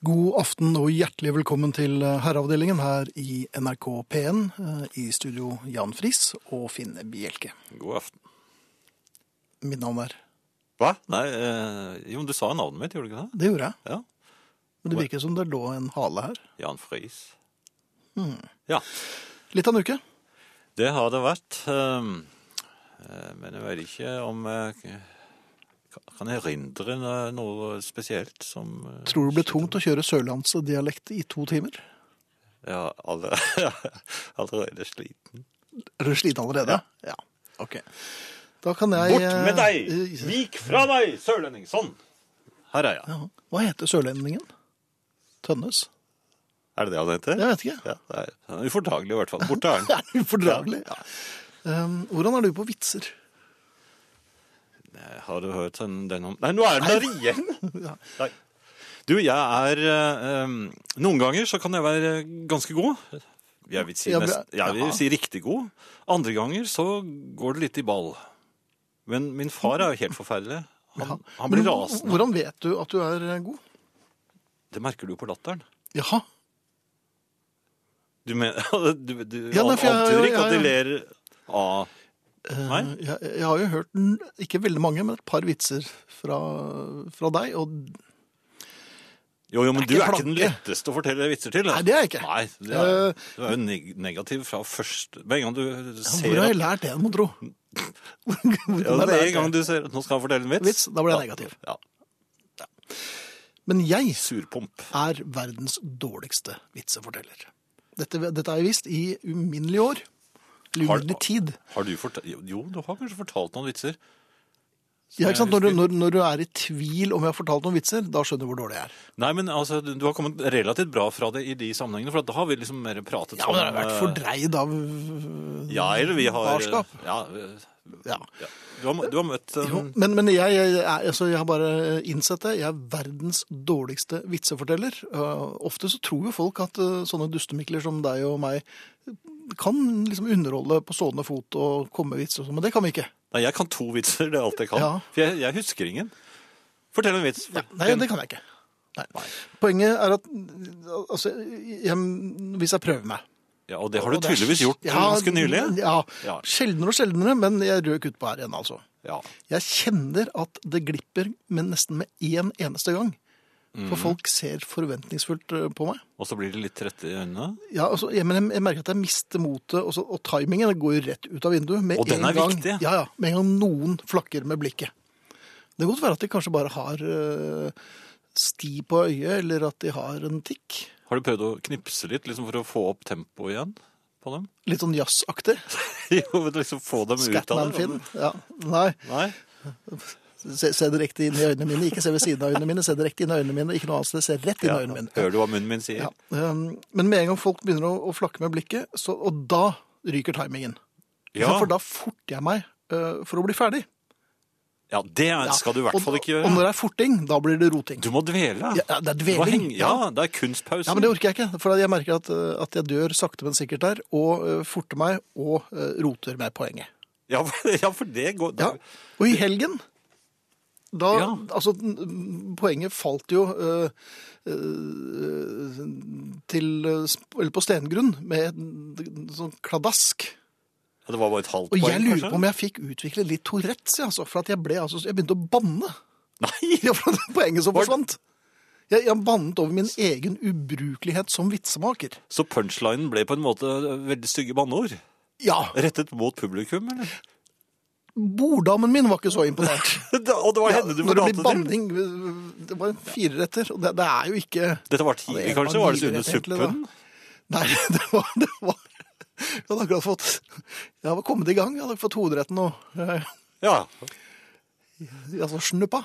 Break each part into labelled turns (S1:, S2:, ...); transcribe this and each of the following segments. S1: God aften og hjertelig velkommen til eh, Herreavdelingen her i NRK P1. eh, I studio Jan Friis og Finn Bjelke.
S2: God aften.
S1: Mitt navn er
S2: Hva? Nei, eh, jo, men du sa navnet mitt, gjorde du ikke det?
S1: Det gjorde jeg.
S2: Ja.
S1: Men det virker som det lå en hale her.
S2: Jan Friis. Ja,
S1: Litt av en uke.
S2: det har det vært. ehm, eh, men jeg vet ikke om jeg kan- kan erindre no- noe spesielt som eh,
S1: Tror det ble tungt å kjøre sørlandsdialekt i to timer?
S2: Ja, allerede, allerede sliten.
S1: Er du sliten allerede? Ja. Ok. Da kan jeg
S2: Bort med deg!
S1: eh,
S2: Vik fra deg, sørlending! Sånn! Her er jeg.
S1: Ja. Hva heter sørlendingen? Tønnes?
S2: Er det det han heter?
S1: Jeg vet ikke.
S2: Ja, det er han er ufordragelig i hvert fall. Borte er
S1: Det
S2: han.
S1: er ufordragelig. Um, hvordan er du på vitser?
S2: Nei, Har du hørt den, den om Nei, nå er den der igjen!
S1: Ja.
S2: Nei. Du, jeg er eh, em, Noen ganger så kan jeg være ganske god. Jeg vil si,
S1: Ja, men-
S2: nest, jeg
S1: Jaha.
S2: vil si riktig god. Andre ganger så går det litt i ball. Men min far er jo helt forferdelig. Han, han blir
S1: Men
S2: rasende.
S1: Hvordan vet du at du er god?
S2: Det merker du på latteren.
S1: Jaha.
S2: Du, mener, du, du
S1: Ja, nei, for jeg-
S2: antyder ikke at de
S1: jeg-
S2: ler av Nei?
S1: Eh, Jeg, jeg har jo hørt n- ikke veldig mange, men et par vitser fra, fra deg. Og
S2: Jo, jo, men
S1: Det
S2: du
S1: er
S2: er
S1: ikke
S2: ikke den
S1: planke.
S2: letteste å fortelle vitser til. da.
S1: Nei, det er jeg ikke.
S2: Nei, det
S1: Eh,
S2: er, du er jo neg- negativ fra første Med en gang du
S1: ja, hvor
S2: ser
S1: har
S2: at
S1: jeg lært det, må tro? Hvordan har
S2: ja,
S1: jeg
S2: Med
S1: lært
S2: en gang du ser at nå skal han fortelle en vits,
S1: Vits, da blir jeg negativ.
S2: Ja,
S1: Men jeg
S2: Surpomp.
S1: er verdens dårligste vitseforteller. Dette, dette har jeg visst i uminnelige år. Eller
S2: Har-
S1: uminnelig tid.
S2: Har du fortalt Jo, du har kanskje fortalt noen vitser.
S1: Ja, ikke sant?
S2: jeg
S1: Når, du,
S2: husker-
S1: når, når du er i tvil om jeg har fortalt noen vitser, da skjønner du hvor dårlig jeg er.
S2: Nei, men altså, du du har kommet relativt bra fra det i de sammenhengene, for da har vi liksom mer pratet
S1: Ja, men det har vært
S2: eh,
S1: fordreid av
S2: Ja, eller vi har
S1: Barskap.
S2: Ja, eh,
S1: Ja.
S2: ja. Du, har, du har møtt eh,
S1: Jo, men, men jeg, jeg, er- altså, jeg har bare innsett det. Jeg er verdens dårligste vitseforteller. Uh, ofte så tror jo folk at uh, sånne dustemikler som deg og meg kan liksom underholde på stående fot og komme med vitser og sånn, men det kan vi ikke.
S2: Nei, jeg kan to vitser, det er alt jeg kan.
S1: Ja.
S2: For jeg, jeg husker ingen. Fortell en vits.
S1: Nei, det kan jeg ikke. Nei. Poenget er at altså, jeg, hvis jeg prøver meg
S2: Ja, og det har du
S1: og det er-
S2: tydeligvis gjort ganske nylig.
S1: Ja,
S2: Ja.
S1: Sjeldnere og sjeldnere, men jeg røk ut på her igjen, altså.
S2: Ja.
S1: Jeg kjenner at det glipper, men nesten med én eneste gang. For
S2: Mhm.
S1: folk ser forventningsfullt eh, på meg.
S2: Og så blir det litt trette i øynene.
S1: Ja, altså, jeg, men jeg, jeg merker at jeg mister motet, og, så- og timingen går jo rett ut av vinduet. Med
S2: Og den
S1: en
S2: er
S1: gang,
S2: viktig.
S1: Ja, ja, Med en gang noen flakker med blikket. Det kan godt være at de kanskje bare har eh, sti på øyet, eller at de har en tikk.
S2: Har du prøvd å knipse litt liksom for å få opp tempoet igjen på dem?
S1: Litt sånn jazzaktig.
S2: jo, men liksom få dem ut av det. altså.
S1: Scatman-Finn. Ja. Nei,
S2: Nei,
S1: se, se direkte inn i øynene mine. Ikke se ved siden av øynene mine, se direkte inn i øynene mine. Ikke noe annet sted, se rett inn i
S2: ja.
S1: øynene mine.
S2: Hører du hva munnen min sier?
S1: Ja. Um, men med en gang folk begynner å, å flakke med blikket, så, og da ryker timingen.
S2: Ja.
S1: For da forter jeg meg øh, for å bli ferdig.
S2: Ja, det er-
S1: Ja.
S2: skal du i hvert
S1: Og-
S2: fall ikke
S1: Og
S2: gjøre.
S1: når det er forting, da blir det roting.
S2: Du må dvele.
S1: Ja, det er
S2: Du må
S1: dveling.
S2: henge- Ja, det er kunstpausen.
S1: Ja, men det orker jeg ikke, for jeg merker at, øh, at jeg dør sakte, men sikkert der, og øh, forter meg og øh, roter med poenget.
S2: Ja, for, ja, for det går
S1: Ja. Og i helgen, da,
S2: Ja.
S1: altså, n- poenget falt jo øh, øh, til, øh, sp- eller på stengrunn med en sånn kladask.
S2: Ja, Det var bare et
S1: Og
S2: halvt poeng,
S1: jeg lurer
S2: kanskje?
S1: på om jeg fikk utvikle litt Tourettes, jeg, altså, for at jeg, ble, altså, jeg begynte å banne.
S2: Nei!
S1: Ja, for det var poenget som
S2: Var det-
S1: forsvant. Jeg, jeg bannet over min egen ubrukelighet som vitsemaker.
S2: Så punchlinen ble på en måte veldig stygge banneord?
S1: Ja,
S2: Rettet mot publikum, eller?
S1: borddamen min var ikke så imponert.
S2: Og det var henne du
S1: Når det
S2: fortalte
S1: blir
S2: til?
S1: banning, det var en fireretter, og det, det er jo ikke...
S2: Dette var tidlig,
S1: Ja, det
S2: kanskje?
S1: var
S2: Var det så under
S1: livrett, egentlig,
S2: suppen?
S1: Nei, det var... Det var jeg hadde akkurat fått... Jeg hadde kommet i gang, jeg hadde fått hovedretten og eh,
S2: Ja.
S1: altså, snuppa.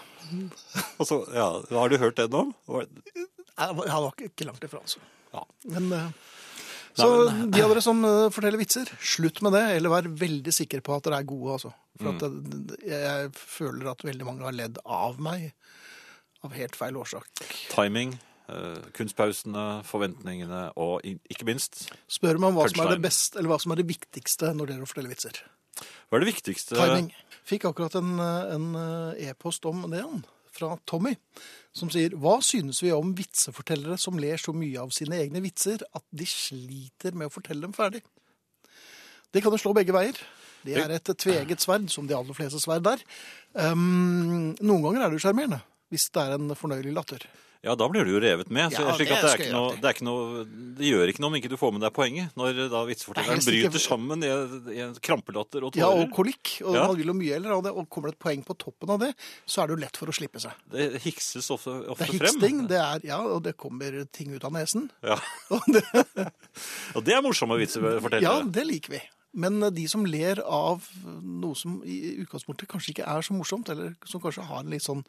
S2: Og så, ja. Har du hørt det nå? Var-
S1: Jeg var, jeg var ikke, ikke langt ifra, altså.
S2: Ja.
S1: Men, eh, så de av dere som eh, forteller vitser, slutt med det, eller vær veldig sikker på at dere er gode. Altså. For
S2: Mm.
S1: at jeg, jeg føler at veldig mange har ledd av meg av helt feil årsak.
S2: Timing, eh, kunstpausene, forventningene og i- ikke minst
S1: Spør meg om hva som er det
S2: Punchline.
S1: beste, eller hva som er det viktigste når dere forteller vitser.
S2: Hva er det viktigste
S1: Timing. Fikk akkurat en eh, en, eh, e-post om det, Jan. fra Tommy, som sier Hva synes vi om vitsefortellere som ler så mye av sine egne vitser at de sliter med å fortelle dem ferdig? Det kan jo slå begge veier. Det er et tveget sverd, som de aller fleste sverd er. Um, noen ganger er det jo sjarmerende, hvis det er en fornøyelig latter.
S2: Ja, da blir du jo revet med. Så
S1: Ja,
S2: slik
S1: det
S2: at det, er
S1: skal jeg
S2: ikke noe,
S1: alltid.
S2: det, er ikke noe, det gjør ikke noe om ikke du får med deg poenget, når eh, da
S1: Nei,
S2: vitsefortelleren
S1: helst ikke.
S2: bryter sammen i, i en krampelatter og
S1: Ja,
S2: tårer.
S1: og kolikk. Og
S2: Ja.
S1: man vil jo mye heller ha det. Og kommer det et poeng på toppen av det, så er det jo lett for å slippe seg.
S2: Det hikses ofte,
S1: Det
S2: ofte
S1: er
S2: frem.
S1: hiksting, det er Ja, og det kommer ting ut av nesen.
S2: Ja.
S1: Og det,
S2: Og det er morsomme
S1: ja,
S2: vitsefortellere.
S1: det liker vi. Men de som ler av noe som i utgangspunktet kanskje ikke er så morsomt, eller som kanskje har en litt sånn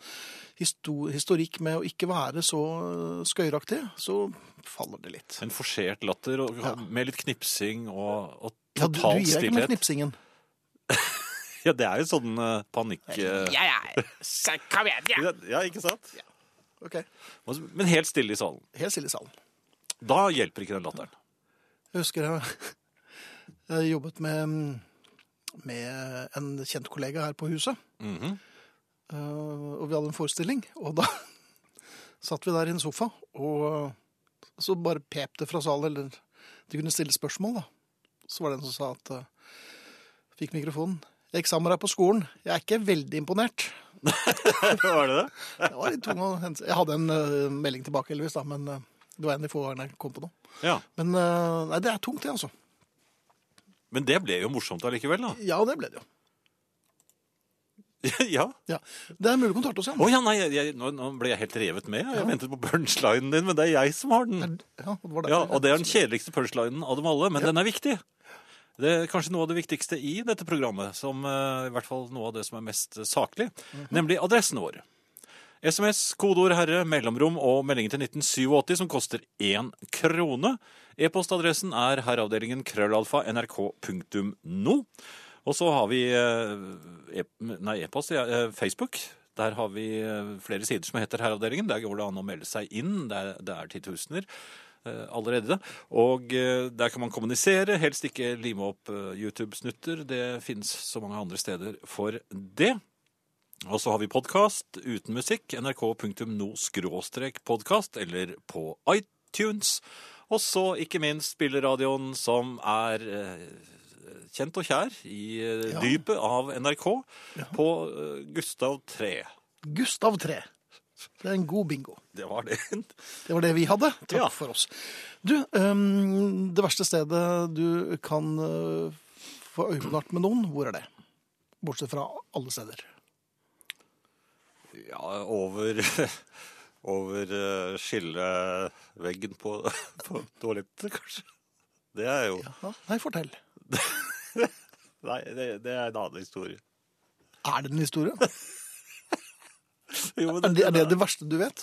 S1: histo historikk med å ikke være så skøyeraktig, så faller det litt.
S2: En forsert latter og,
S1: Ja.
S2: med litt knipsing og, og
S1: Ja, du, du
S2: total
S1: gir deg ikke med
S2: stillhet.
S1: knipsingen.
S2: Ja, det er jo sånn eh, panikk... eh,
S3: Ja, ja. Så kom igjen, ja.
S2: ja. ikke sant?
S1: Ok,
S2: Men helt stille i salen.
S1: Helt stille i salen.
S2: Da hjelper ikke den latteren.
S1: Jeg husker jeg, jeg jobbet med, med en kjent kollega her på huset.
S2: Mhm.
S1: Eh, og vi hadde en forestilling, og da satt vi der i en sofa, og så bare pep det fra salen, eller de kunne stille spørsmål, da. Så var det en som sa at eh, Fikk mikrofonen. Jeg eksamen er på skolen. Jeg er ikke veldig imponert.
S2: Var det det?
S1: Det var litt tung å hente. Jeg hadde en eh, melding tilbake, heldigvis, da, men eh, det var en av de få gangene jeg kom på noe.
S2: Ja.
S1: Men eh, nei, det er tungt, det, altså.
S2: Men det ble jo morsomt allikevel, da.
S1: Ja, det ble det jo.
S2: ja.
S1: Ja. Det er mulig å kontakte oss
S2: Å
S1: igjen.
S2: ja, nei, jeg, jeg, nå, nå ble jeg helt revet med. Jeg ventet på punchlinen din, men det er jeg som har den.
S1: Ja, det var derfor.
S2: Ja, Og det er den kjedeligste punchlinen av dem alle, men den er viktig. Det er kanskje noe av det viktigste i dette programmet, som eh, i hvert fall noe av det som er mest eh, saklig,
S1: Mhm.
S2: nemlig adressen vår. SMS, kodeord herre, mellomrom og meldingen til 1987 som koster én krone. E-postadressen er herreavdelingen krøllalfa nrk.no. Og så har vi eh, e nei, e-post, ja, eh, Facebook. Der har vi eh, flere sider som heter Herreavdelingen. Der går det an å melde seg inn. Det er, det er titusener eh, allerede. Og eh, der kan man kommunisere. Helst ikke lime opp eh, YouTube-snutter. Det finnes så mange andre steder for det. Og så har vi podkast uten musikk. nrk.no-podkast eller på iTunes. Og så ikke minst spilleradioen som er eh, kjent og kjær i eh,
S1: Ja.
S2: dypet av NRK på eh, Gustav 3.
S1: Gustav 3. Det er en god bingo.
S2: Det var det.
S1: Det var det vi hadde. Takk
S2: Ja.
S1: for oss. Du, øhm, det verste stedet du kan øh, få øyekontakt med noen, hvor er det? Bortsett fra alle steder.
S2: ja, over over eh, skilleveggen på, på toalettet, kanskje. Det er jo
S1: Ja. Nei, fortell.
S2: Nei, det, det er en annen historie.
S1: Er det en historie?
S2: Jo, men
S1: Er det er det, det verste du vet?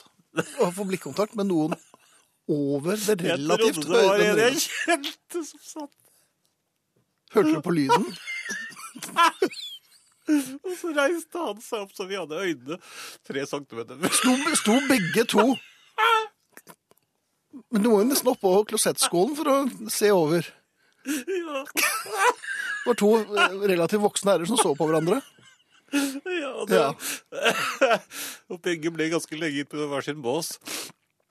S1: Å få blikkontakt med noen over det
S2: jeg
S1: relativt
S2: trodde det var
S1: høye
S2: en jeg
S1: nivået?
S2: kjente som satt
S1: Hørte du på lyden?
S2: Og så reiste han seg opp så vi hadde øynene tre centimeter
S1: Sto, sto begge to Men du må jo nesten oppå klosettskålen for å se over.
S2: ja,
S1: Det var to eh, relativt voksne herrer som så på hverandre.
S2: ja, det,
S1: Ja.
S2: Og begge ble ganske lenge inn på hver sin bås.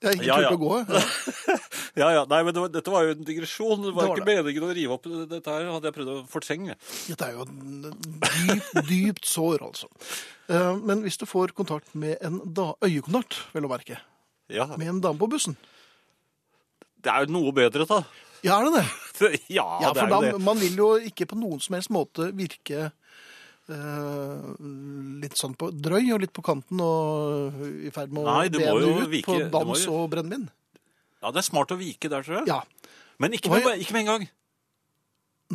S1: Jeg ikke
S2: Ja, ja.
S1: turte å gå. eh. jeg.
S2: Ja, ja, nei, men det var, Dette var jo en digresjon. Det var,
S1: Det var
S2: ikke meningen å rive opp dette her. hadde jeg prøvd å fortrenge.
S1: Dette er jo et dypt, dypt sår, altså. Eh, Men hvis du får kontakt med en da øyekontakt, vel å merke,
S2: Ja,
S1: med en dame på bussen
S2: Det er jo noe bedre, da.
S1: Ja, er det det?
S2: Ja,
S1: Ja,
S2: det
S1: for
S2: er
S1: da,
S2: jo det.
S1: man vil jo ikke på noen som helst måte virke eh, litt sånn på drøy og litt på kanten og i ferd med å
S2: Nei, du må jo
S1: bene ut
S2: vike-
S1: på
S2: du må
S1: dans
S2: jo-
S1: og brennevin.
S2: Ja, Det er smart å vike der, tror jeg.
S1: Ja.
S2: Men ikke
S1: Hva-
S2: med, ikke med en gang.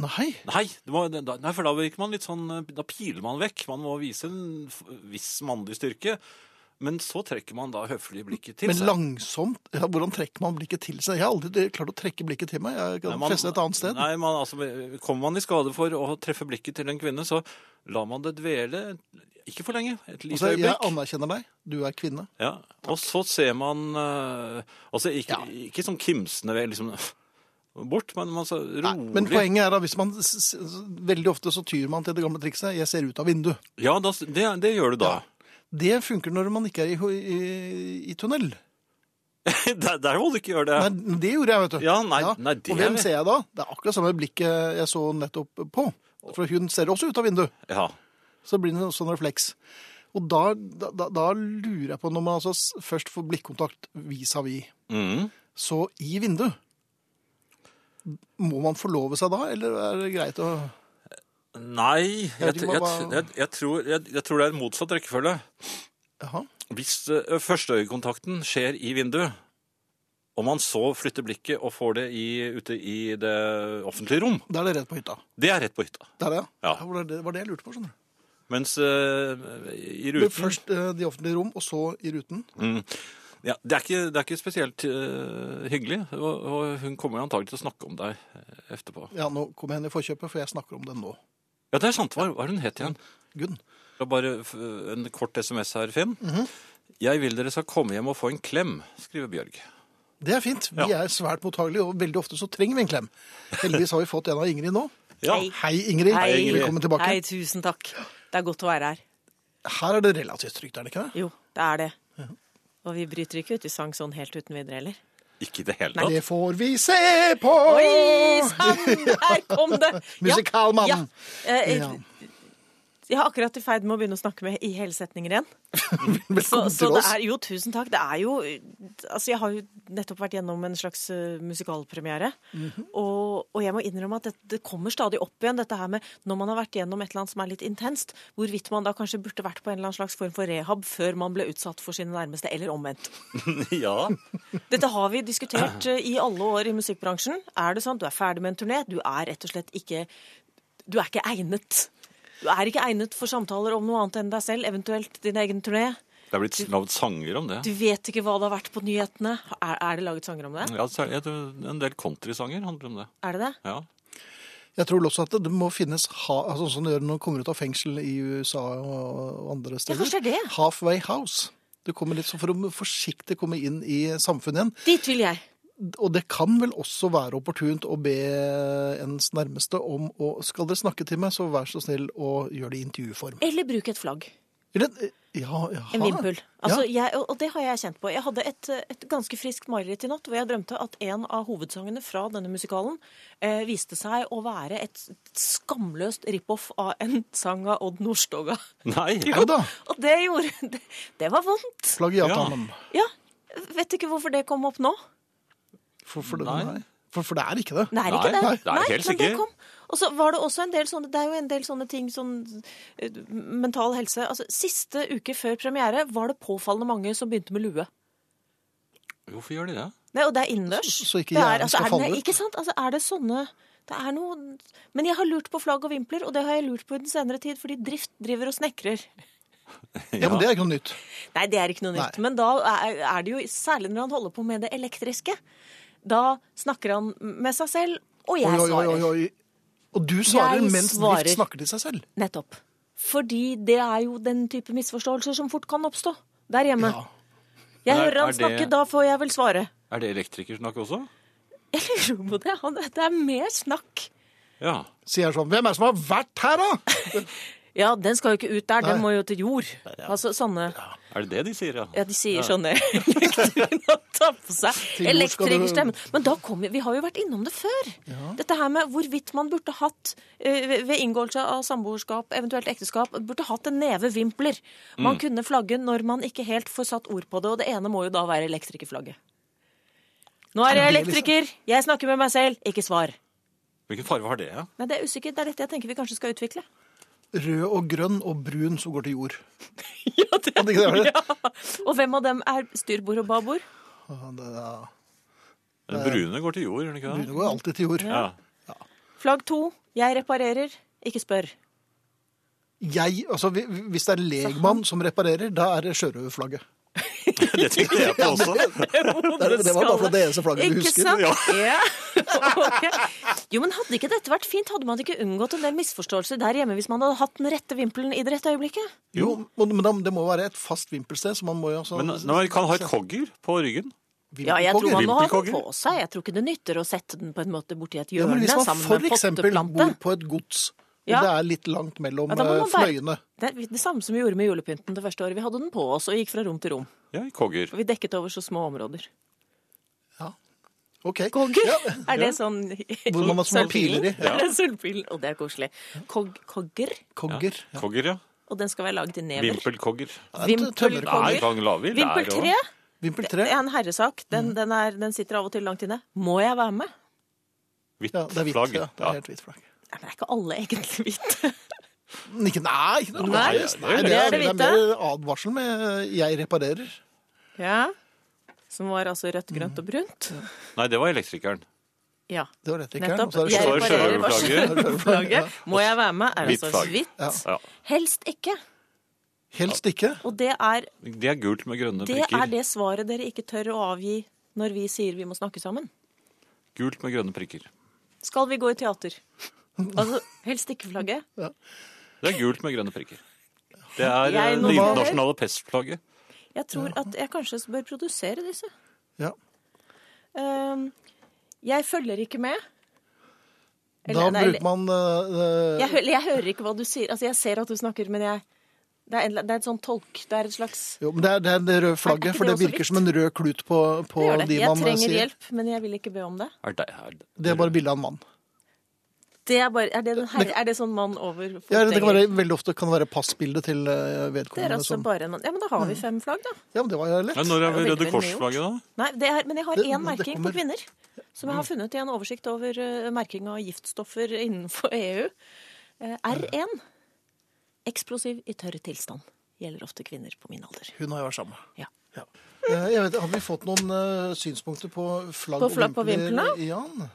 S1: Nei.
S2: Nei, du må, da- nei, for da virker man litt sånn eh, Da piler man vekk. Man må vise en f- viss mannlig styrke. Men så trekker man da høflig blikket til
S1: Men
S2: seg.
S1: langsomt ja, Hvordan trekker man blikket til seg? Jeg har aldri klart å trekke blikket til meg. Jeg
S2: Nei,
S1: kan
S2: man-
S1: feste et annet sted.
S2: Nei, man, altså, Kommer man i skade for å treffe blikket til en kvinne, så lar man det dvele ikke for lenge. Et lite
S1: Altså, jeg
S2: øyeblikk.
S1: anerkjenner deg. Du er kvinne.
S2: Ja. Og så ser man eh, Altså ikke,
S1: Ja.
S2: ikke sånn kimsende ved, liksom bort, men man så rolig.
S1: Nei, men poenget er at hvis man s- s- s- veldig ofte så tyr man til det gamle trikset 'jeg ser ut av vinduet'.
S2: Ja, da, det, det gjør du da.
S1: Det funker når man ikke er i, ho- i, i tunnel.
S2: der, der må du ikke gjøre det.
S1: Nei, det gjorde jeg, vet du.
S2: Ja, nei- nei, det
S1: Og hvem
S2: er-
S1: ser jeg da? Det er akkurat samme blikket jeg så nettopp på. For hun ser også ut av vinduet.
S2: Ja.
S1: Så blir det en sånn refleks. Og da, da, da- da lurer jeg på, når man altså s- først får blikkontakt vis-à-vis,
S2: Mm.
S1: så i vinduet Må man forlove seg da, eller er det greit å
S2: Nei, jeg,
S1: vet
S2: jeg,
S1: ikke
S2: jeg,
S1: hva-
S2: jeg, tror, jeg, jeg tror det er en motsatt rekkefølge.
S1: Jaha.
S2: Hvis eh, førsteøyekontakten skjer i vinduet, og man så flytter blikket og får det i, ute i det offentlige rom,
S1: Da er det rett på hytta.
S2: det er rett på hytta.
S1: Det er det,
S2: Ja.
S1: Det var det, var det jeg lurte på, skjønner du.
S2: Mens eh, i
S1: Men
S2: ruten
S1: Først eh, de offentlige rom, og så i ruten.
S2: Mm. Ja, det, er ikke, det er ikke spesielt eh, hyggelig, og, og hun kommer jo antagelig til å snakke om deg eh, etterpå.
S1: Ja, nå kom jeg henne i forkjøpet, for jeg snakker om den nå.
S2: Ja, det er sant. Hva, hva er hun het igjen?
S1: Gunn.
S2: Det er bare f- en kort SMS her, Finn.
S1: Mhm.
S2: Jeg vil dere skal komme hjem og få en klem, skriver Bjørg.
S1: Det er fint. Vi er svært mottagelige, og veldig ofte så trenger vi en klem. Heldigvis har vi fått en av Ingrid nå.
S2: Ja,
S4: Hei.
S1: Hei, Ingrid.
S4: Hei.
S1: Velkommen tilbake.
S4: Hei, tusen takk. Det er godt å være her.
S1: Her er det relativt trygt, er det ikke det?
S4: Jo, det er det. Og vi bryter ikke ut i sang sånn helt uten videre heller.
S2: Ikke i det hele
S1: Det
S2: tatt.
S1: får vi se på!
S4: Oi sann, der kom det! Ja,
S1: Musikalmannen.
S4: Ja. Eh,
S1: Ja.
S4: Jeg er akkurat i ferd med å begynne å snakke med i hele setninger igjen. Så,
S1: Velkommen
S4: så
S1: til
S4: det
S1: oss.
S4: er jo Tusen takk. Det er jo Altså, jeg har jo nettopp vært gjennom en slags eh, musikalpremiere.
S1: Mhm.
S4: og, og jeg må innrømme at det, det kommer stadig opp igjen, dette her med når man har vært gjennom et eller annet som er litt intenst, hvorvidt man da kanskje burde vært på en eller annen slags form for rehab før man ble utsatt for sine nærmeste, eller omvendt.
S2: ja.
S4: Dette har vi diskutert eh, i alle år i musikkbransjen. Er det sånn du er ferdig med en turné, du er rett og slett ikke Du er ikke egnet. Du er ikke egnet for samtaler om noe annet enn deg selv, eventuelt din egen turné.
S2: Det er blitt lagd sanger om det.
S4: Du vet ikke hva det har vært på nyhetene. Er, er det laget sanger om det?
S2: Ja, så er det en del countrysanger handler om det.
S4: Er det det?
S2: Ja.
S1: Jeg tror også at det må finnes ha, altså sånn som det gjør når man kommer ut av fengsel i USA og andre steder.
S4: kanskje det er det.
S1: Halfway house. Du kommer litt sånn for å forsiktig komme inn i samfunnet igjen.
S4: Dit vil jeg.
S1: Og det kan vel også være opportunt å be ens nærmeste om å Skal dere snakke til meg, så vær så snill å gjøre det i intervjuform.
S4: Eller bruke et flagg.
S1: Eller Ja, jaha.
S4: En vimpel. Altså,
S1: ja.
S4: jeg, og og det har jeg kjent på. Jeg hadde et, eh, et ganske friskt mareritt i natt hvor jeg drømte at en av hovedsangene fra denne musikalen eh, viste seg å være et skamløst rip-off av en sang av Odd Nordstoga.
S2: Nei,
S1: Er det da?
S4: Og det gjorde Det, det var vondt.
S1: Plagiatdamen.
S4: Ja. Vet ikke hvorfor det kom opp nå.
S1: For, for, det-
S2: Nei.
S1: nei. For, for det er ikke det.
S4: Nei, det er
S2: Nei,
S4: ikke det.
S2: nei, det er helt
S4: men det
S2: sikkert.
S4: kom. Og så var det også en del sånne Det er jo en del sånne ting sånn eh, mental helse Altså, siste uke før premiere var det påfallende mange som begynte med lue.
S2: hvorfor gjør de det?
S4: Nei, og det er innendørs.
S1: Så- så ikke
S4: Det er-
S1: hjernen skal
S4: er det-
S1: falle ut.
S4: Ikke sant? Altså, er det sånne det er noe... Men jeg har lurt på flagg og vimpler, og det har jeg lurt på i den senere tid, fordi Drift driver og snekrer.
S1: Ja, men det er ikke noe nytt.
S4: Nei, det er ikke noe nytt.
S1: Nei.
S4: Men da er er det jo særlig når han holder på med det elektriske. Da snakker han med seg selv, og jeg
S1: Oi, oi, oi,
S4: svarer.
S1: oi, oi. Og du svarer
S4: Jeg
S1: mens
S4: svarer.
S1: Drift snakker til seg selv.
S4: Nettopp. Fordi det er jo den type misforståelser som fort kan oppstå der hjemme.
S1: Ja.
S2: Men
S4: Jeg
S2: er-
S4: hører
S2: er
S4: han
S2: det-
S4: snakke, da får jeg vel svare.
S2: Er det elektrikersnakk også?
S4: Jeg lurer på det. Han, det er mer snakk.
S2: Ja.
S1: Sier jeg sånn Hvem er det som har vært her, da?
S4: Ja, den skal jo ikke ut der, den
S1: Nei.
S4: må jo til jord. Altså sånne
S2: Er det det de sier, ja?
S4: Ja, de sier sånn, sånne elektrikere og tar på seg
S1: Til jord skal du-
S4: elektrikerstemmen. Men da kommer Vi har jo vært innom det før. Dette her med hvorvidt man burde hatt, eh, ved ved inngåelse av samboerskap, eventuelt ekteskap, burde hatt en neve vimpler. Man
S1: Mm.
S4: kunne flagge når man ikke helt får satt ord på det, og det ene må jo da være elektrikerflagget. Nå er
S1: Er
S4: jeg
S1: det liksom-
S4: elektriker, jeg snakker med meg selv, ikke svar.
S2: Hvilken farge har det? Ja?
S4: Nei, det er usikkert. Det er dette jeg tenker vi kanskje skal utvikle.
S1: Rød og grønn og brun som går til jord.
S4: Ja, det,
S1: Kan det ikke være det?
S4: Og hvem av dem er styrbord og babord?
S1: Ja, det er-
S2: Den brune går til jord, gjør den ikke
S1: Eh, Brune
S2: det?
S1: går alltid til jord.
S2: Ja.
S4: Flagg to, jeg reparerer, ikke spør.
S1: Jeg, altså, vi- hvis det er en legmann som reparerer, da er det sjørøverflagget.
S2: Det tenkte jeg på også.
S1: Det, det var bare for det eneste flagget du
S4: Ikke
S1: husker.
S4: sant? Ja. Ok. Jo, men hadde ikke dette vært fint? Hadde man ikke unngått en del misforståelser der hjemme hvis man hadde hatt den rette vimpelen i det rette øyeblikket?
S1: Jo, men men da- det må være et fast vimpelsted, så man må jo altså
S2: Men når man kan ha et kogger på ryggen
S4: Ja, jeg tror man må ha den
S2: Vimpelkogger.
S4: på seg. Jeg tror ikke det nytter å sette den på en måte borti et
S1: Ja, men
S4: hjørne
S1: hvis man
S4: sammen
S1: for
S4: med en
S1: eksempel
S4: potteplante.
S1: bor på et gods
S4: Ja.
S1: Det er litt langt mellom
S4: Ja, da må
S1: eh,
S4: man bare-
S1: fløyene.
S4: Det er det samme som vi gjorde med julepynten det første året. Vi hadde den på oss og gikk fra rom til rom.
S2: Ja, i kogger.
S4: Og vi dekket over så små områder.
S1: Ok.
S4: Kogger?
S1: Ja. eh,
S4: Er det sånn
S1: Hvor man har små
S4: Sølvpilen?
S1: piler i,
S2: ja.
S4: Er det sølvpilen? Og det er koselig. Kog, kogger?
S1: Kogger. Ja.
S2: Kogger, ja.
S4: Og den skal være laget i never.
S2: Vimpelkogger.
S1: Kogger.
S2: Nei,
S4: Vimpelkogger.
S2: Bang Lavi. der
S4: Vimpel
S2: også.
S4: 3
S1: Vimpel
S4: det
S1: 3.
S4: er en herresak. Den, den, er, den sitter av og til langt inne. Må jeg være med?
S2: Hvitt
S1: Ja, det er hvitt.
S2: flagg.
S1: Ja, det
S2: Ja.
S1: er helt hvitt flagg.
S4: Nei, men er ikke alle egentlig hvite?
S1: Men Ikke, nei, ikke noe.
S4: Nei,
S1: Nei, det, er, det er mer
S4: hvite.
S1: advarsel med eh, 'jeg reparerer'.
S4: Ja. Som var altså rødt, grønt og brunt.
S2: Nei, det var elektrikeren.
S4: Ja,
S1: Det var dette ikke her.
S4: nettopp.
S1: Og så er det
S4: Jeg
S2: Så er det
S4: reparerer
S2: sjørøverflagget.
S4: varselflagget. Må jeg være med? Er
S2: Hvitt
S4: altså
S2: flagg.
S1: Ja.
S4: hvitt.
S2: Ja.
S4: Helst ikke.
S1: Helst ikke.
S4: Og det er
S2: Det er gult med grønne
S4: Det
S2: prikker.
S4: er det svaret dere ikke tør å avgi når vi sier vi må snakke sammen.
S2: Gult med grønne prikker.
S4: Skal vi gå i teater? Altså, helst ikke flagget.
S2: Det er gult med grønne prikker. Det er eh,
S4: Jeg
S2: det
S4: noterer.
S2: internasjonale pestflagget.
S4: Jeg tror at jeg kanskje bør produsere disse.
S1: Ja.
S4: Ehm, jeg følger ikke med.
S1: Da
S4: Eller- nei,
S1: bruker man eh, eh,
S4: Jeg, hø- jeg hører ikke hva du sier. Altså, jeg ser at du snakker, men jeg Det er, en, det er et sånn tolk. Det er et slags
S1: jo, men det er det, er det røde
S4: Er
S1: flagget,
S4: ikke
S1: for
S4: det
S1: det
S4: også
S1: virker
S4: hvitt?
S1: som en rød klut på, på
S4: det gjør det.
S1: de
S4: Jeg
S1: man eh,
S4: trenger
S1: sier.
S4: hjelp, men jeg vil ikke be om det.
S2: Er det, er det.
S1: Det er bare bilde av en mann.
S4: Det er, bare, er, det, den herre, er det sånn mann over
S1: Ja, det kan
S4: fotgjenger?
S1: være, veldig ofte kan det være passbildet til eh,
S4: Det er
S1: vedkommende.
S4: altså
S1: Som,
S4: bare en mann. Ja, men da har
S1: Mm.
S4: vi fem flagg, da.
S1: ja, men det var jo lett.
S2: Ja, når er
S4: Det er jo
S2: Røde
S4: veldig
S2: Kors-flagget, da?
S4: Nei, det er, men jeg har
S1: Det-
S4: én
S1: men det
S4: merking
S1: kommer- Mm.
S4: på kvinner. Som jeg har funnet i en oversikt over eh, merking av giftstoffer innenfor EU. Eh, R1. Eksplosiv i tørr tilstand. Gjelder ofte kvinner på min alder.
S1: Hun og jeg var sammen.
S4: Ja.
S1: Eh, Jeg vet, har vi fått noen eh, synspunkter på flagg
S4: På flagg på vimplene?
S1: Jan?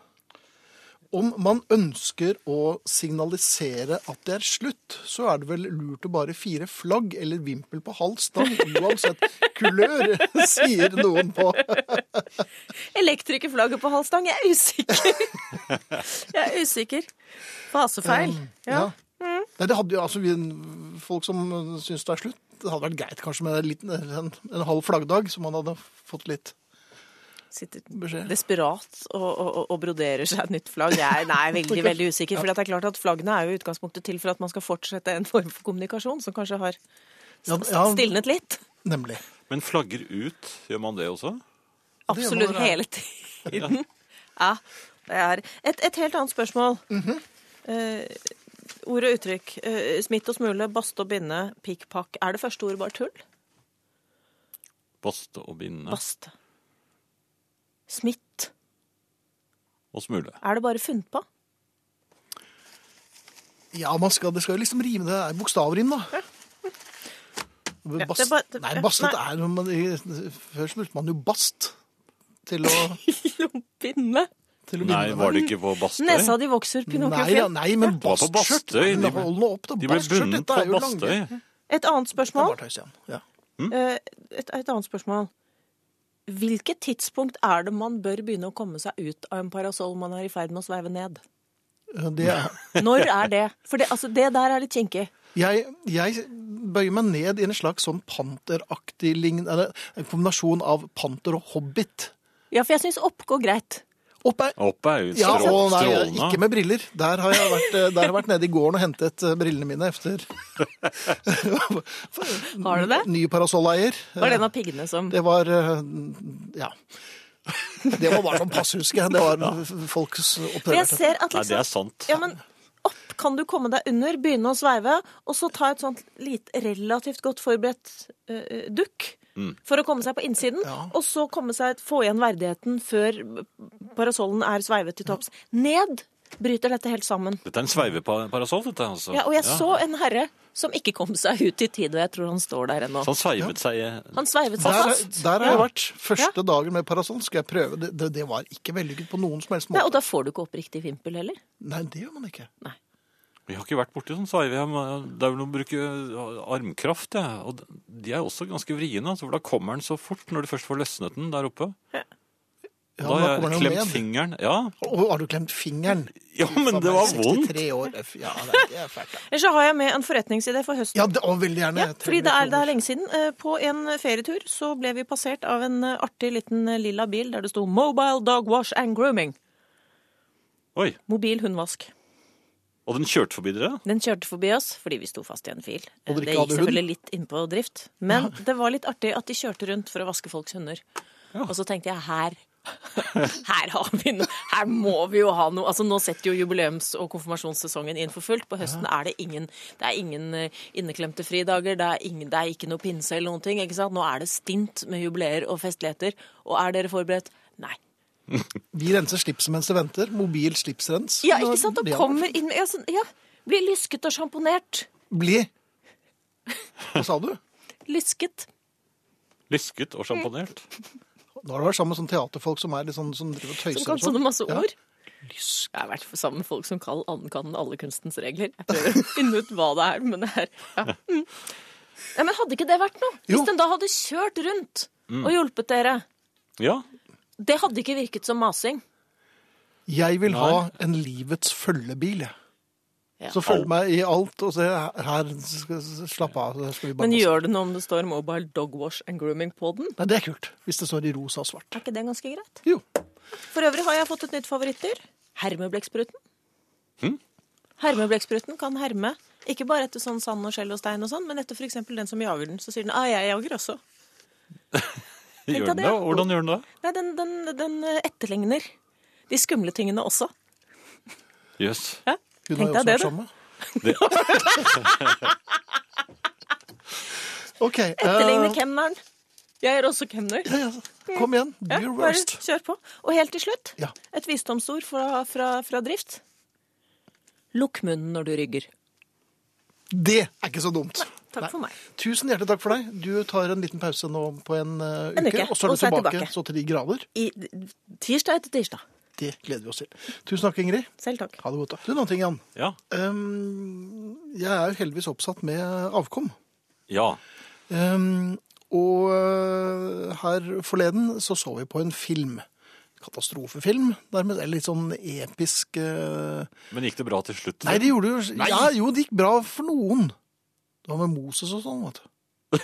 S1: Om man ønsker å signalisere at det er slutt, så er det vel lurt å bare fire flagg eller vimpel på halv stang, uansett kulør, sier noen på.
S4: Elektrikerflagget på halv stang. Jeg er usikker. jeg er usikker. Fasefeil. Ja. Mm.
S1: Nei, det hadde jo altså vi, folk som syns det er slutt. Det hadde vært greit kanskje med en, liten, en, en halv flaggdag, så man hadde fått litt
S4: Sitter
S1: beskjed.
S4: desperat og, og, og broderer seg et nytt flagg. Jeg er nei, veldig veldig usikker. For det er klart at flaggene er jo i utgangspunktet til for at man skal fortsette en form for kommunikasjon som kanskje har
S1: Ja, ja,
S4: stilnet litt.
S1: nemlig.
S2: Men flagger ut, gjør man det også?
S1: Det gjør
S4: Absolutt
S1: man, ja.
S4: hele tiden. Ja, det er et, et helt annet spørsmål.
S1: Mhm.
S4: Eh, ord og uttrykk. Eh, smitt og smule, baste og binde, pikk pakk. Er det første ord bare tull?
S2: Baste og binde
S4: Baste. Smitt.
S2: og smule.
S4: Er det bare funnet på?
S1: Ja, man skal, det skal jo liksom rime. Det er bokstavrim, da. Bast,
S4: det er bare- det-
S1: nei,
S4: ja,
S1: bastet
S4: nei.
S1: er noe man, i- Før så brukte man jo bast til å,
S4: Binde.
S1: til å
S2: Nei,
S1: binde
S2: var det ikke på Bastøy?
S4: Nesa di vokser, Pinocchio.
S1: Nei, ja,
S4: Finn.
S1: nei, men
S2: var på
S1: bastskjørt
S2: Bastøy. De-
S1: men Hold nå opp, da.
S2: De ble
S1: Bastskjørt,
S2: bundet
S1: dette
S2: på
S1: er jo lange- Det
S2: Bastøy.
S4: Et annet
S1: er
S4: spørsmål.
S1: bare tøys igjen. Ja.
S4: Eh, Et, et annet spørsmål. Hvilket tidspunkt er det man bør begynne å komme seg ut av en parasoll man er i ferd med å sveive ned?
S1: Det er,
S4: Når er det? For det, altså, det der er litt kinkig.
S1: jeg, jeg bøyer meg ned i en slags sånn panteraktig lign... Eller en kombinasjon av panter og hobbit.
S4: Ja, for jeg syns opp går greit.
S1: Opp er
S2: Opp er jo
S1: ja,
S2: strå-
S1: og nei, ikke
S2: strålende.
S1: med briller. Der har jeg vært, eh, der har jeg vært nede i gården og hentet eh, brillene mine efter
S4: Har du det?
S1: Ny parasolleier.
S4: Var det en av piggene som
S1: Det var eh, Ja. Det var bare sånn passhuske. Det var folks
S4: For jeg
S1: opplevelse.
S4: ser at
S2: Nei, det er
S4: liksom
S2: sant.
S4: Ja, men opp kan du komme deg under, begynne å sveive, og så ta et sånt lite, relativt godt forberedt eh, dukk. For å komme seg på innsiden,
S1: Ja.
S4: og så komme seg, få igjen verdigheten før parasollen er sveivet til topps. Ned bryter dette helt sammen.
S2: Dette er en sveiveparasoll, dette. altså.
S4: Ja, og jeg
S2: Ja.
S4: så en herre som ikke kom seg ut i tide, og jeg tror han står der ennå.
S2: Så han sveivet seg eh,
S4: Han sveivet seg
S1: Der,
S4: fast.
S1: der har jeg
S4: Ja.
S1: vært. Første dagen med parasoll skal jeg prøve. Det, det, det var ikke vellykket på noen som helst
S4: Nei, og
S1: måte.
S4: da får du ikke opp riktig vimpel heller.
S1: Nei, det gjør man ikke.
S2: Vi har ikke vært borti sånn sveive. jeg må- Det er vel noe å bruke armkraft, ja. Og de er også ganske vriene, altså, for da kommer den så fort når du først får løsnet den der oppe.
S1: Ja, men
S2: da
S1: da
S2: har
S1: kommer den
S2: jeg
S1: jo
S2: klemt
S1: ned.
S2: fingeren. Ja.
S1: Og har du klemt fingeren?
S2: ja, men det var vondt.
S1: 63 år. Ja, det er- det er fælt. da.
S4: Eller så har jeg med en forretningsidé for høsten.
S1: Ja, det, og veldig gjerne.
S4: Ja,
S1: Jeg
S4: fordi
S1: trenger
S4: det er, det
S1: kroner.
S4: er lenge siden. Eh, På en ferietur så ble vi passert av en eh, artig liten eh, lilla bil der det sto 'Mobile Dog Wash and Grooming'.
S2: Oi.
S4: Mobil hundvask.
S2: Og den kjørte forbi dere?
S4: Den kjørte forbi oss fordi vi sto fast i en fil. Eh,
S1: Og dere
S4: Det
S1: ikke hadde
S4: gikk
S1: hund?
S4: selvfølgelig litt innpå drift. Men det var litt artig at de kjørte rundt for å vaske folks hunder. Og så tenkte jeg her her, har vi no, her må vi jo ha noe Altså Nå setter jo jubileums- og konfirmasjonssesongen inn for fullt. På høsten er det ingen Det er ingen eh, inneklemte fridager, det er, ingen, det er ikke noe pinse eller noen ting. ikke sant? Nå er det stint med jubileer og festligheter. Og er dere forberedt? Nei.
S1: Vi renser slipset mens det venter. Mobil slipsrens.
S4: Ja, ikke sant? Og
S1: Det er-
S4: kommer inn ja, sånn, ja, Blir lysket og sjamponert.
S1: Bli. Hva sa du?
S4: Lysket.
S2: Lysket og sjamponert?
S1: Da har du vært sammen med sånne teaterfolk som er litt sånn, som driver og tøyser.
S4: Som kan
S1: og sånn.
S4: sånne masse
S1: Ja.
S4: ord. Jeg har vært sammen med folk som kan, kan alle kunstens regler. Jeg prøver å finne ut hva det er, men det er ja. mm. ja, Men hadde ikke det vært noe?
S1: Jo. Mm.
S4: Hvis den da hadde kjørt rundt og hjulpet dere.
S2: Ja.
S4: Det hadde ikke virket som masing.
S1: Jeg vil ha en livets følgebil, jeg.
S4: Ja.
S1: Så følg meg i alt, og se her skal, Slapp av, så skal vi bare
S4: Men gjør det noe om det står 'Mobile Dog Wash and Grooming' på den?
S1: Nei, det er kult. Hvis det står i rosa og svart.
S4: Er ikke det ganske greit?
S1: Jo.
S4: For øvrig har jeg fått et nytt favorittdyr. Hermeblekkspruten.
S1: Hm?
S4: Hermeblekkspruten kan herme ikke bare etter sånn sand og skjell og stein, og sånn, men etter f.eks. den som jager den. Så sier den 'ah, jeg jager også'.
S2: Gjør
S4: deg
S2: den det?
S4: det, ja.
S2: Hvordan gjør den det?
S4: Nei, den, den, den etterligner de skumle tingene også.
S2: Jøss.
S4: Ja?
S1: Hun
S4: Tenk
S1: har jo også
S4: deg det,
S1: vært
S4: du.
S1: sammen.
S2: Det-
S1: OK. eh,
S4: Etterligner kemneren. Jeg er også kemner.
S1: ja, ja, kom igjen. Do
S4: Ja,
S1: your
S4: bare
S1: worst.
S4: kjør på. Og helt til slutt,
S1: Ja.
S4: et visdomsord fra, fra, fra drift. Lukk munnen når du rygger.
S1: Det er ikke så dumt.
S4: Takk
S1: Nei.
S4: for meg.
S1: Tusen hjertelig takk for deg. Du tar en liten pause nå på en eh, uke,
S4: En uke,
S1: og så er du
S4: og så er jeg
S1: tilbake,
S4: tilbake.
S1: så til de grader.
S4: I tirsdag etter tirsdag.
S1: Det gleder vi oss til. Tusen takk, Ingrid.
S4: Selv takk.
S1: Ha det godt. da. Du, en annen ting, Jan.
S2: Ja.
S1: Ehm, jeg er jo heldigvis oppsatt med avkom.
S2: ja.
S1: Ehm, og eh, her forleden så så vi på en film. Katastrofefilm, nærmest. Eller litt sånn episk eh,
S2: Men gikk det bra til slutt?
S1: Nei, det gjorde jo ja, Jo, det gikk bra for noen. Det var med Moses og sånn, vet du.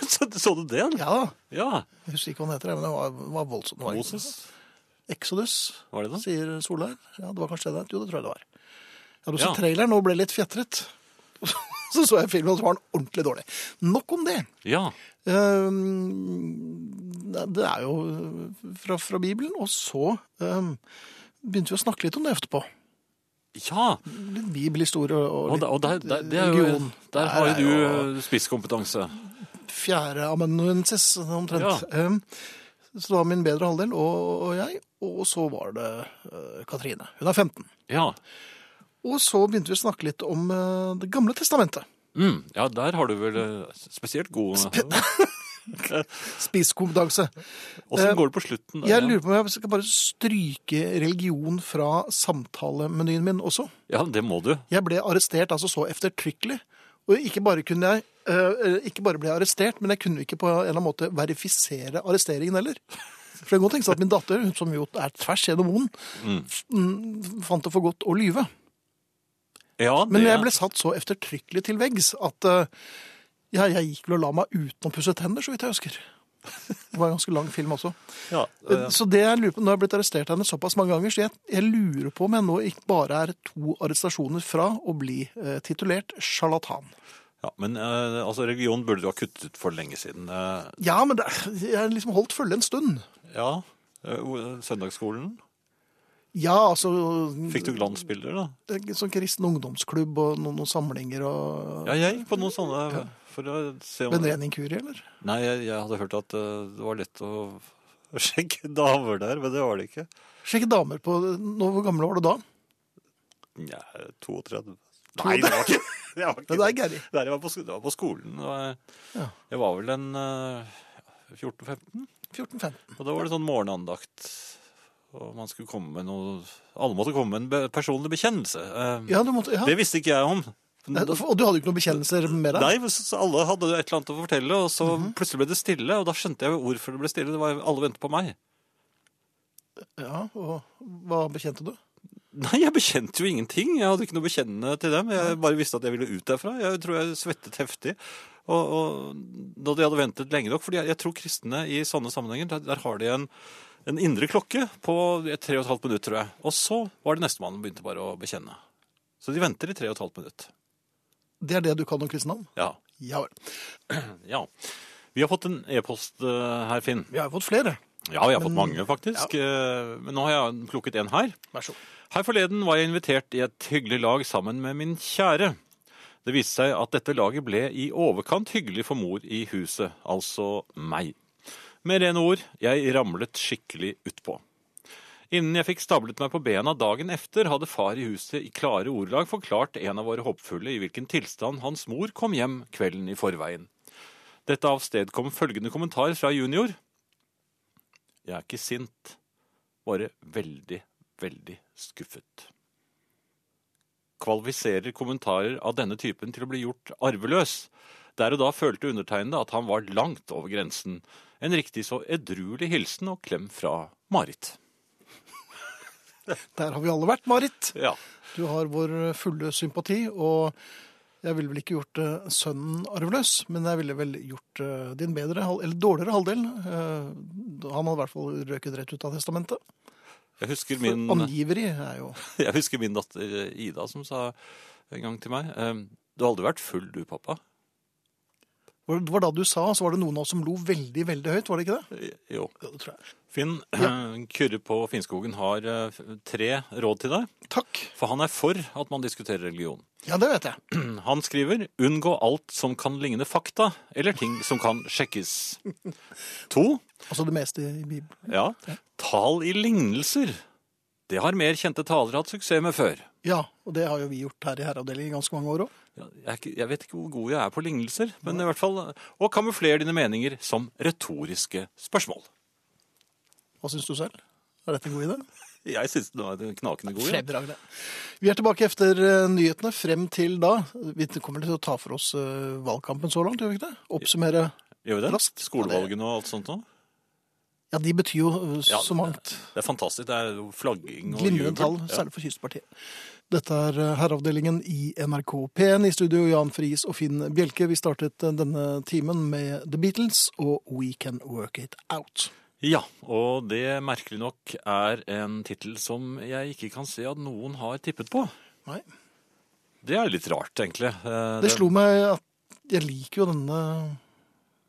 S2: så, så du det? eller?
S1: Ja da.
S2: Ja.
S1: Jeg husker ikke hva han heter, men det var, var voldsomt. Det var-
S2: Moses?
S1: Exodus,
S2: Var det det?
S1: sier Solheim. Ja, det var kanskje det. det het. Jo, det tror jeg det var. Jeg hadde
S2: Ja.
S1: sett traileren og ble litt fjetret. Så så jeg filmen, og så var den ordentlig dårlig. Nok om det.
S2: Ja.
S1: Ehm, det er jo eh, fra, fra Bibelen, og så ehm, begynte vi å snakke litt om det etterpå.
S2: Ja.
S1: Litt bibelhistorie og,
S2: Og,
S1: og
S2: der,
S1: litt eh,
S2: og der, der, det er jo,
S1: religion.
S2: der har
S1: Der er
S2: jo du eh, spisskompetanse.
S1: fjerdeamanuensis, omtrent.
S2: Ja.
S1: Ehm, så det var min bedre halvdel og, og jeg, og så var det eh, Katrine. Hun er 15.
S2: Ja.
S1: Og så begynte vi å snakke litt om eh, Det gamle testamentet.
S2: Mm. ja, der har du vel eh, spesielt god
S1: Spisekompetanse.
S2: Åssen går det på slutten? der,
S1: eh, Jeg
S2: ja?
S1: lurer på om jeg skal bare stryke religion fra samtalemenyen min også.
S2: Ja, det må du.
S1: Jeg ble arrestert altså så eftertrykkelig. Og ikke bare, kunne jeg, eh, ikke bare ble jeg arrestert, men jeg kunne ikke på en eller annen måte verifisere arresteringen heller. For det kan godt tenkes at min datter, hun som jo er tvers gjennom moen, mm, fant det for godt å lyve.
S2: Ja, det,
S1: Men jeg ble satt så eftertrykkelig til veggs at eh, ja, jeg gikk vel og la meg uten å pusse tenner, så vidt jeg husker. Det var en ganske lang film også.
S2: ja,
S1: Eh, Så det jeg lurer på, nå har jeg blitt arrestert av henne såpass mange ganger, så jeg, jeg lurer på om jeg nå ikke bare er to arrestasjoner fra å bli eh, titulert sjarlatan.
S2: ja, Men eh, altså, religion burde du ha kuttet ut for lenge siden. Eh,
S1: Ja, men det, jeg har liksom holdt følge en stund.
S2: ja, eh, hvor- Søndagsskolen.
S1: Ja, altså
S2: Fikk du glansbilder, da?
S1: eh, Sånn kristen ungdomsklubb og noen, noen samlinger og
S2: Ja, jeg gikk på noen sånne for å se om
S1: Men ren inkurie, eller?
S2: Nei, jeg, jeg hadde hørt at eh, det var lett å sjekke damer der, men det var det ikke.
S1: Sjekk damer på nå, Hvor gamle var du da?
S2: Nja, 32 Nei, det var ikke det. Var ikke
S1: Det er Gary.
S2: Nei, det, var på, sk- det var på skolen. og jeg-
S1: Ja.
S2: Jeg var vel en eh, 14-15,
S1: 14-15.
S2: og da var det sånn morgenandakt. Og man skulle komme med noe Alle måtte komme med en be personlig bekjennelse. Eh,
S1: Ja, du måtte, ja.
S2: Det visste ikke jeg om.
S1: Nei, Og du hadde jo ikke noen bekjennelser med deg?
S2: Nei, men så- så alle hadde et eller annet å fortelle, og så plutselig ble det stille. Og da skjønte jeg jo hvorfor det ble stille. Det var Alle ventet på meg.
S1: Ja, og hva bekjente du?
S2: Nei, jeg bekjente jo ingenting. Jeg hadde ikke noe bekjennende til dem. Jeg bare visste at jeg ville ut derfra. Jeg tror jeg svettet heftig. Og, og da de hadde ventet lenge nok, fordi jeg, jeg tror kristne i sånne sammenhenger, der, der har de en, en indre klokke på tre og et halvt minutt, tror jeg. Og så var det nestemann som begynte bare å bekjenne. Så de venter i tre og et halvt minutt.
S1: Det er det du kan om kristendommen?
S2: Ja.
S1: Ja vel.
S2: ja. Vi har fått en e-post eh, her, Finn.
S1: Vi har jo fått flere.
S2: Ja, vi har fått mange, faktisk. Eh, Men nå har jeg plukket en her.
S1: Vær så god.
S2: Her forleden var jeg invitert i et hyggelig lag sammen med min kjære. Det viste seg at dette laget ble i overkant hyggelig for mor i huset, altså meg. Med rene ord, jeg ramlet skikkelig utpå. Innen jeg fikk stablet meg på bena dagen efter, hadde far i huset i klare ordelag forklart en av våre hoppfulle i hvilken tilstand hans mor kom hjem kvelden i forveien. Dette avstedkom følgende kommentar fra junior. Jeg er ikke sint, bare veldig, veldig skuffet. Kvalifiserer kommentarer av denne typen til å bli gjort arveløs. Der og da følte undertegnede at han var langt over grensen. En riktig så edruelig hilsen og klem fra Marit.
S1: Der har vi alle vært, Marit.
S2: Ja,
S1: Du har vår fulle sympati, og jeg ville vel ikke gjort eh, sønnen arveløs, men jeg ville vel gjort eh, din bedre, hal- eller dårligere halvdel. Eh, Han hadde i hvert fall røket rett ut av testamentet.
S2: jeg husker
S1: For
S2: min...
S1: Angiveri er jo
S2: Jeg husker min datter eh, Ida som sa en gang til meg ehm, Du har aldri vært full, du, pappa.
S1: Var- Det var da du sa, så var det noen av oss som lo veldig, veldig høyt, var det ikke det?
S2: Eh, Jo.
S1: Ja, det tror jeg.
S2: Finn, eh, Kyrre på Finnskogen har eh, f- tre råd til deg.
S1: Takk.
S2: For han er for at man diskuterer religion.
S1: Ja, det vet jeg.
S2: Han skriver 'unngå alt som kan ligne fakta', eller ting som kan sjekkes. To,
S1: Altså det meste i Bibelen.
S2: ja, tal i lignelser. Det har mer kjente talere hatt suksess med før.
S1: Ja, og det har jo vi gjort her i herreavdelingen i ganske mange år òg.
S2: Ja, Jeg, er ikke- jeg vet ikke hvor god jeg er på lignelser, men i hvert fall Og kamufler dine meninger som retoriske spørsmål.
S1: Hva syns du selv? Er dette en god idé?
S2: Jeg syns den var knakende god. Ja.
S1: Fremragende. Vi er tilbake etter eh, nyhetene. Frem til da Vi kommer til å ta for oss eh, valgkampen så langt, gjør vi ikke det? Oppsummere.
S2: Gjør vi det?
S1: Raskt.
S2: Skolevalgene og alt sånt nå.
S1: Ja, de betyr jo eh,
S2: Ja,
S1: så mangt.
S2: Det er fantastisk. Det er jo flagging og
S1: Glimrende tall,
S2: Ja.
S1: særlig for Kystpartiet. Dette er eh, Herreavdelingen i NRK P1. I studio Jan Friis og Finn Bjelke. Vi startet eh, denne timen med The Beatles og We Can Work It Out.
S2: ja, og det merkelig nok er en tittel som jeg ikke kan se at noen har tippet på.
S1: Nei.
S2: Det er litt rart, egentlig. Eh,
S1: Det slo meg at jeg liker jo denne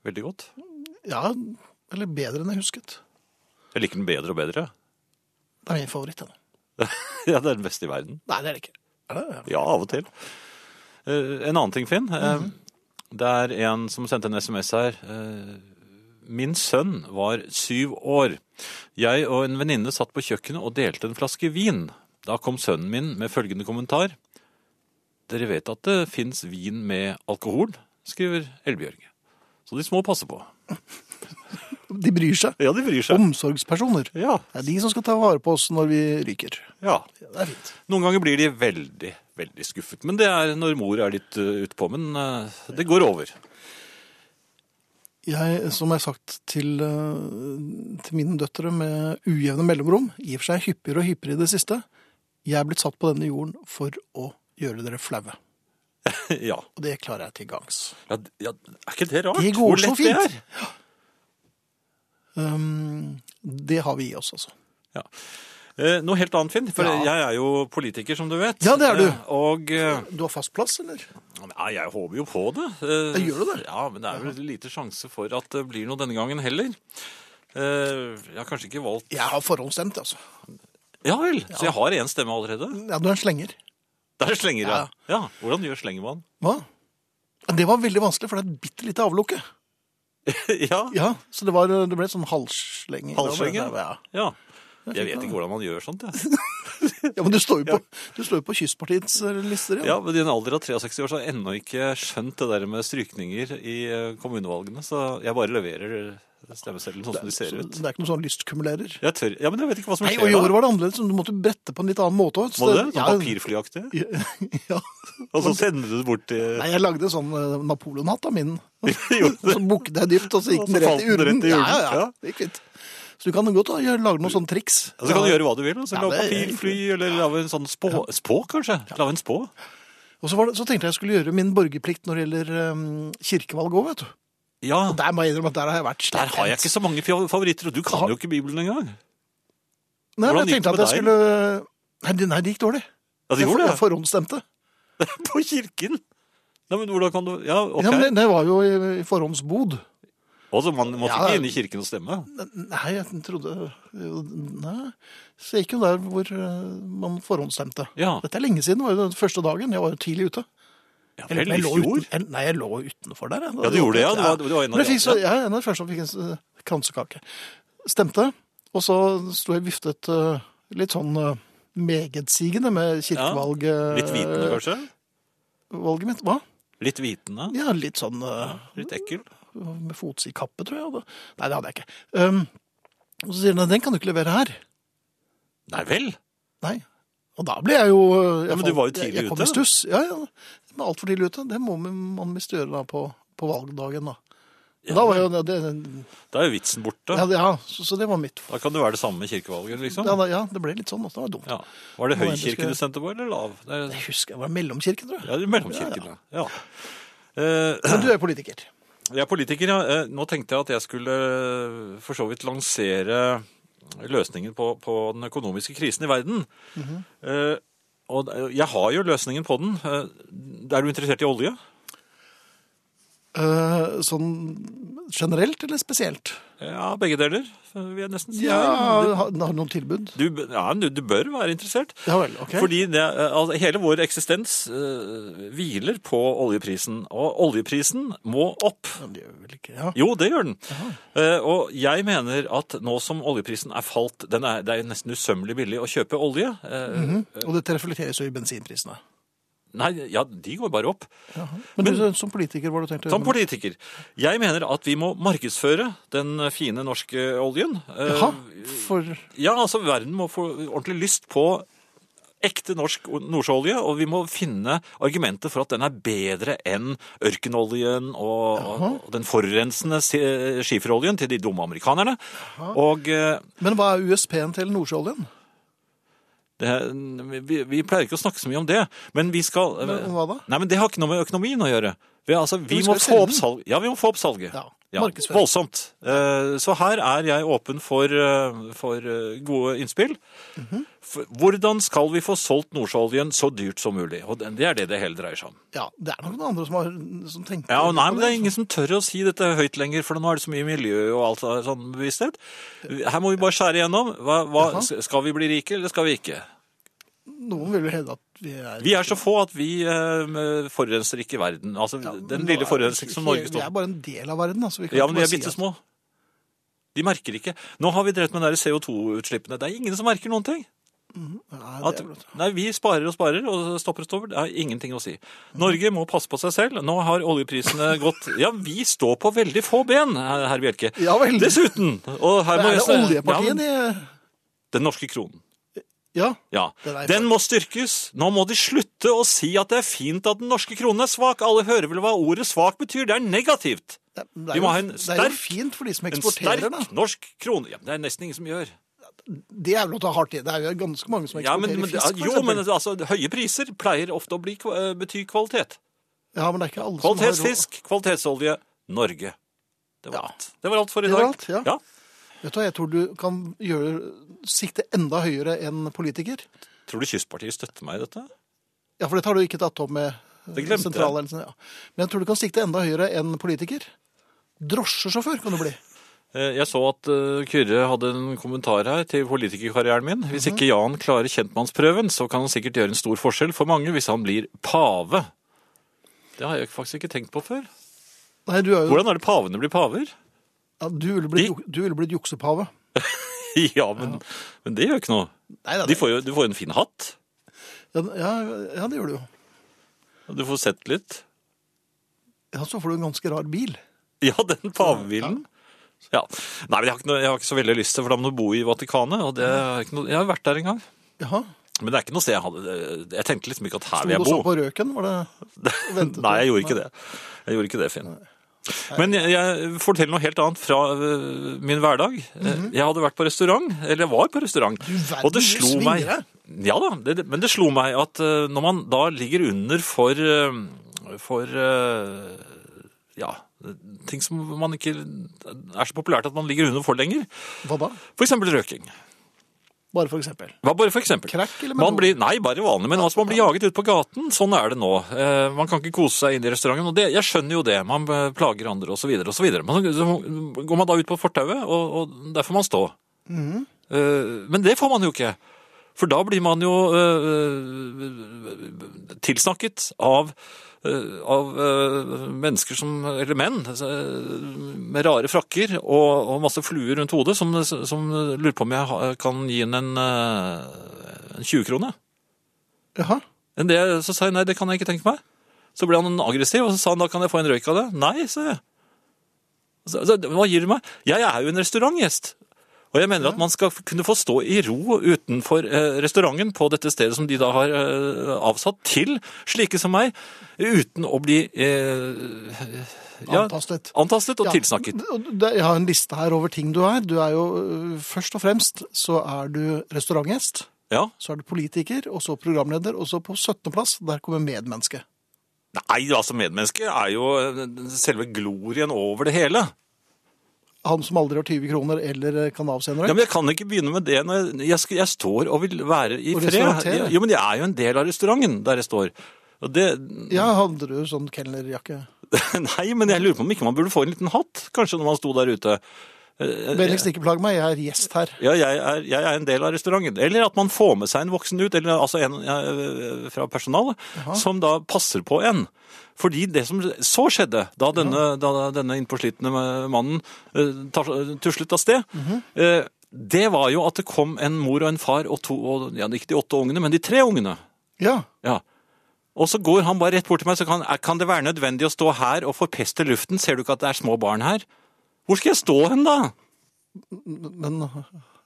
S2: Veldig godt.
S1: Ja, eller bedre enn jeg husket.
S2: Jeg liker den bedre og bedre.
S1: Det er min favoritt, denne.
S2: ja, det er den beste i verden.
S1: Nei, det er det ikke. Er det?
S2: Ja, av og til. Eh, en annen ting, Finn. Eh, Det er en som sendte en SMS her. Eh, Min sønn var syv år. Jeg og en venninne satt på kjøkkenet og delte en flaske vin. Da kom sønnen min med følgende kommentar. Dere vet at det fins vin med alkohol, skriver Elbjørg. Så de små passer på.
S1: De bryr seg.
S2: Ja, de bryr seg.
S1: Omsorgspersoner.
S2: Ja,
S1: Det er de som skal ta vare på oss når vi ryker.
S2: ja.
S1: Det er fint.
S2: Noen ganger blir de veldig, veldig skuffet. Men det er når mor er litt eh, utpå. Men eh, det går over.
S1: Jeg, som jeg har sagt til, eh, til mine døtre med ujevne mellomrom, i og for seg hyppigere og hyppigere i det siste, jeg er blitt satt på denne jorden for å gjøre dere flaue.
S2: ja.
S1: Og det klarer jeg til gangs.
S2: Ja, d- ja, er ikke det rart?
S1: Det
S2: Hvor
S1: går så
S2: lett
S1: fint.
S2: Det er?
S1: Um, det har vi i oss, altså.
S2: Ja. Eh, noe helt annet, Finn. For
S1: Ja.
S2: jeg er jo politiker, som du vet.
S1: Ja, det er du.
S2: Eh, og eh,
S1: Du har fast plass, eller?
S2: ja, jeg håper jo på det. Eh,
S1: Ja, gjør du det?
S2: Ja, men det er vel lite sjanse for at det blir noe denne gangen heller. Eh, jeg har kanskje ikke valgt
S1: Jeg har forhåndsstemt, altså.
S2: Ja vel, så jeg har én stemme allerede?
S1: Ja, du er en slenger.
S2: Der slenger
S1: Ja.
S2: jeg. Ja, Hvordan gjør slengemann?
S1: Hva? Det var veldig vanskelig, for det er et bitte lite avlukke.
S2: ja.
S1: Ja, så det, var, det ble et sånn halsslenge.
S2: Halsslenge?
S1: Ja.
S2: ja. Jeg vet ikke hvordan man gjør sånt, jeg.
S1: Ja, men du står jo på, du står jo på Kystpartiets eh, lister, ja.
S2: Ja, men I en alder av 63 år så har jeg ennå ikke skjønt det der med strykninger i eh, kommunevalgene, så jeg bare leverer stemmeseddelen sånn som de ser
S1: Så
S2: ut.
S1: det er ikke noe sånn lystkumulerer.
S2: Jeg tør, ja, men jeg vet ikke hva som
S1: Nei,
S2: skjer
S1: og i år
S2: da.
S1: var det annerledes. Du måtte brette på en litt annen måte. også.
S2: Må du det? Sånn
S1: Ja,
S2: papirflyaktig?
S1: Ja.
S2: Og så sender du det bort til
S1: Nei, jeg lagde sånn eh, Napoleon-hatt av min.
S2: Jo,
S1: Så bukket jeg dypt, og så gikk
S2: Og så
S1: den rett
S2: falt
S1: i
S2: den
S1: urnen.
S2: rett i urnen,
S1: Ja, ja, ja.
S2: ja.
S1: Det gikk fint. Så du kan godt da, gjøre, lage noen sånne triks.
S2: ja, Så kan du gjøre hva du vil. Altså,
S1: Ja,
S2: lage
S1: det-
S2: papirfly, eller lage en sånn spå, spå kanskje? Lage en spå?
S1: Og så, var det, så tenkte jeg jeg skulle gjøre min borgerplikt når det gjelder eh, kirkevalg òg, vet du.
S2: Ja,
S1: Og der må jeg innrømme at der har jeg vært
S2: der har jeg
S1: slepphendt.
S2: ikke så mange fa- favoritter, og du kan jo ikke Bibelen engang.
S1: Nei, men
S2: Hvordan
S1: jeg
S2: gikk
S1: tenkte
S2: det
S1: at jeg
S2: med
S1: skulle Nei, det- nei, det gikk dårlig.
S2: Ja, de
S1: Jeg
S2: gjorde
S1: for- jeg
S2: det?
S1: forhåndsstemte.
S2: På kirken? Nei, men hvordan kan du Ja, OK.
S1: Ja, men det, det var jo i, i forhåndsbod.
S2: Altså, man måtte
S1: Ja.
S2: ikke inn i kirken og stemme?
S1: Nei, jeg trodde jo, Nei. Så jeg gikk jo der hvor eh, man forhåndsstemte.
S2: Ja.
S1: Dette er lenge siden. Det var jo den første dagen. Jeg var jo tidlig ute.
S2: ja
S1: Eller,
S2: vel,
S1: jeg
S2: i
S1: lå
S2: fjor?
S1: uten- jeg- Nei, jeg lå utenfor der. jeg.
S2: Ja, du gjorde det, ja. Du var- du var en av
S1: Men jeg
S2: de
S1: fikk så,
S2: andre.
S1: jeg er en av de første som fikk en eh, kransekake. Stemte, og så sto jeg og viftet eh, litt sånn eh, megetsigende med kirkevalget.
S2: Litt vitende, kanskje?
S1: Valget mitt, hva?
S2: Eh, Litt vitende?
S1: Ja, litt sånn eh,
S2: Litt ekkel?
S1: med fots i kappe, tror jeg. jeg hadde. Nei, det hadde jeg ikke. Um, og så sier han, den kan du ikke levere her.
S2: Nei vel?
S1: Nei. Og da ble jeg jo eh, jeg
S2: Ja, men
S1: falt-
S2: du var jo tidlig
S1: jeg, jeg kom
S2: ute.
S1: i stuss. Ja, ja. Jeg var altfor tidlig ute. Det må man visst gjøre da på, på valgdagen, da.
S2: Ja,
S1: da var jo det, det,
S2: Da er jo vitsen borte.
S1: ja, det, ja så, så det var mitt
S2: Da kan det være det samme med kirkevalget, liksom.
S1: ja, da, ja, det ble litt sånn også. Det var dumt.
S2: Ja. Var det
S1: Nå er det
S2: høykirken
S1: skal-
S2: du stemte på, eller lav? Det er,
S1: Jeg husker jeg var i mellomkirken, tror jeg.
S2: ja, det er mellomkirken, ja. ja. Eh,
S1: Men du er politiker.
S2: jeg er politiker, ja. Eh, Nå tenkte jeg at jeg skulle eh, for så vidt lansere løsningen på, på den økonomiske krisen i verden.
S1: Mhm.
S2: Eh, og det- jeg har jo løsningen på den. Eh, Er du interessert i olje?
S1: Eh, sånn generelt eller spesielt?
S2: Ja, begge deler, eh, vil jeg nesten si.
S1: har, har du noen tilbud?
S2: Du, b- ja, du, du bør være interessert.
S1: Ja vel, ok.
S2: Fordi det, altså, hele vår eksistens eh, hviler på oljeprisen, og oljeprisen må opp.
S1: Men det gjør vi vel ikke, ja.
S2: Jo, det gjør den. Eh, og jeg mener at nå som oljeprisen er falt, den er, det er jo nesten usømmelig billig å kjøpe olje. Eh,
S1: Og dette reflekteres jo i bensinprisene.
S2: Nei, ja, de går bare opp.
S1: Men, du, som politiker, hva har du tenkt å gjøre? med
S2: Som
S1: det?
S2: politiker, jeg mener at vi må markedsføre den fine norske oljen. Eh,
S1: Jaha, for...
S2: Ja, altså verden må få ordentlig lyst på ekte norsk nordsjøolje, og vi må finne argumenter for at den er bedre enn ørkenoljen og, og den forurensende si- eh, skiferoljen til de dumme amerikanerne. Og eh,
S1: Men hva er USP-en til nordsjøoljen?
S2: det, vi, vi pleier ikke å snakke så mye om det, men vi skal eh,
S1: Men Hva da?
S2: Nei, men det har ikke noe med økonomien å gjøre. Vi, altså, vi,
S1: vi skal jo
S2: må, få
S1: selge
S2: opp
S1: den.
S2: salg. ja, vi må få opp salget.
S1: Ja,
S2: Ja,
S1: markedsføring.
S2: voldsomt. Eh, Så her er jeg åpen for, eh, for eh, gode innspill.
S1: Mhm.
S2: For- Hvordan skal vi få solgt nordsjøoljen så dyrt som mulig? Og det det er det det hele dreier seg om.
S1: Ja, det er nok noen andre som, har, som tenker
S2: Ja, og nei,
S1: på
S2: men Det er ingen som tør å si dette høyt lenger, for nå er det så mye miljø og alt sånn- sånn bevissthet. Her må vi bare skjære igjennom. Hva, hva, skal vi bli rike, eller skal vi ikke?
S1: Noen vil jo hevde at vi er
S2: Vi er så få at vi eh, forurenser ikke verden. Altså, den lille forurensningen som Norge
S1: Vi
S2: står
S1: er bare en del av verden, da. Så vi kan
S2: Ja,
S1: ikke
S2: men de
S1: bare
S2: er
S1: si
S2: bitte
S1: at-
S2: små. De merker ikke. Nå har vi drevet med de der CO2-utslippene. Det er ingen som merker noen ting.
S1: Nei,
S2: At,
S1: det er vel-
S2: nei, vi sparer og sparer og stopper og stopper. Det er ingenting å si.
S1: Mhm.
S2: Norge må passe på seg selv. Nå har oljeprisene gått Ja, vi står på veldig få ben, herr Bjelke.
S1: Ja vel.
S2: Dessuten og her må
S1: er
S2: jeg
S1: det
S2: se- Ja,
S1: oljepartiet
S2: men
S1: de
S2: Den norske kronen.
S1: Ja.
S2: Ja.
S1: Den er
S2: Den må styrkes. Nå må de slutte å si at det er fint at den norske kronen er svak. Alle hører vel hva ordet svak betyr. Det er negativt.
S1: Det, er- det er
S2: Vi må
S1: jo-
S2: ha en
S1: Det er
S2: sterk-
S1: jo fint for de som
S2: En
S1: eksporterer,
S2: sterk
S1: da.
S2: norsk krone ja, men Det er nesten ingen som gjør.
S1: Det er vel å ta hardt i. Det er jo ganske mange som
S2: Ja, men,
S1: eksporterer
S2: men,
S1: fisk, for
S2: jo,
S1: eksempel.
S2: men altså, høye priser pleier ofte å bli, kva- eh, bety kvalitet.
S1: Ja, men det er ikke alle som har råd-
S2: Kvalitetsfisk, kvalitetsolje, Norge. Det var alt. Det var alt for i
S1: Det var
S2: dag.
S1: alt, ja. Vet du hva, jeg tror du kan gjøre, sikte enda høyere enn politiker.
S2: Tror du Kystpartiet støtter meg i dette?
S1: Ja, for dette har du ikke tatt opp med eh,
S2: Det glemte jeg.
S1: sentralledelsen. Ja. Men jeg tror du kan sikte enda høyere enn politiker. Drosjesjåfør kan du bli.
S2: Eh, Jeg så at eh, Kyrre hadde en kommentar her til politikerkarrieren min. Hvis ikke Jan klarer kjentmannsprøven, så kan han sikkert gjøre en stor forskjell for mange hvis han blir pave. Det har jeg faktisk ikke tenkt på før.
S1: Nei, du, er jo,
S2: Hvordan er det pavene blir paver?
S1: ja, du, ville, blitt, ju- du ville blitt juksepave.
S2: Ja, men, men det gjør ikke noe.
S1: Nei, nei,
S2: De får jo, du får jo en fin hatt.
S1: ja, ja, ja, det gjør du jo.
S2: og Du får sett litt.
S1: Ja, så får du en ganske rar bil.
S2: Ja, den pavebilen. Ja. Nei, men jeg har, ikke noe, jeg har ikke så veldig lyst til, for da må du bo i Vatikanet. og det er ikke noe, Jeg har vært der en gang.
S1: Jaha.
S2: Men det er ikke noe sted jeg hadde Jeg tenkte liksom ikke at her
S1: Sto du
S2: vil jeg
S1: og så
S2: bo.
S1: på røken? Var det ventet
S2: Nei, jeg gjorde ikke det. Jeg gjorde ikke det, Finn. Men jeg, jeg forteller noe helt annet fra øh, min hverdag. Jeg hadde vært på restaurant, eller jeg var på restaurant,
S1: verden,
S2: og det
S1: Mhm. du
S2: slo
S1: svinger
S2: meg
S1: deg.
S2: Ja da, det, det- men det slo meg at øh, når man da ligger under for øh, For øh, ja Ting som man ikke er så populært at man ligger under for lenger.
S1: Hva da?
S2: For eksempel røking.
S1: Bare for eksempel.
S2: Hva bare for eksempel?
S1: Crack eller
S2: Man
S1: metode?
S2: blir, nei, bare vanlig, men altså, man blir jaget ut på gaten. Sånn er det nå. Eh, man kan ikke kose seg inne i restauranten. Og det, jeg skjønner jo det. Man eh, plager andre osv. osv. Så går man da ut på fortauet, og, og der får man stå. Eh, men det får man jo ikke. For da blir man jo eh, tilsnakket av eh, av eh, mennesker som Eller menn eh, med rare frakker og, og masse fluer rundt hodet, som, som lurer på om jeg ha- kan gi henne en, eh, en 20-krone.
S1: Jaha.
S2: Men det, så sa jeg nei, det kan jeg ikke tenke meg. Så ble han aggressiv, og så sa han da kan jeg få en røyk av det. Nei, sa jeg. Så, så, hva gir du meg? Jeg er jo en restaurantgjest. Og jeg mener at man skal kunne få stå i ro utenfor eh, restauranten på dette stedet som de da har eh, avsatt til slike som meg, uten å bli eh, ja,
S1: Antastet.
S2: antastet og
S1: Ja,
S2: tilsnakket.
S1: og det- Jeg har en liste her over ting du er. Du er jo øh, først og fremst så er du restaurantgjest,
S2: Ja.
S1: så er du politiker, og så programleder, og så på 17. plass, der kommer medmenneske.
S2: Nei, altså medmenneske er jo eh, selve glorien over det hele.
S1: Han som aldri har 20 kroner eller eh, kan avse en
S2: Ja,
S1: røyk.
S2: men Jeg kan ikke begynne med det. når Jeg, jeg, skal- jeg står og vil være i
S1: Og
S2: fred.
S1: restaurantere.
S2: Jo, men jeg er jo en del av restauranten der jeg står. Og det,
S1: Ja, hadde du sånn kelnerjakke?
S2: nei, men jeg lurer på om ikke man burde få en liten hatt, kanskje, når man sto der ute. Eh,
S1: Vennligst ikke plag meg, jeg er gjest her.
S2: Ja, jeg er, jeg er en del av restauranten. Eller at man får med seg en voksen ut, eller altså en eh, fra personalet, som da passer på en. Fordi det som så skjedde, da denne, da denne innpåslitne mannen eh, tar- tuslet av sted,
S1: Mhm.
S2: eh, det var jo at det kom en mor og en far og to, og, ja, ikke de åtte ungene, men de tre ungene.
S1: Ja,
S2: Ja. Og så går han bare rett bort til meg, så kan, er- kan det være nødvendig å stå her og forpeste luften? Ser du ikke at det er små barn her? Hvor skal jeg stå hen da?
S1: men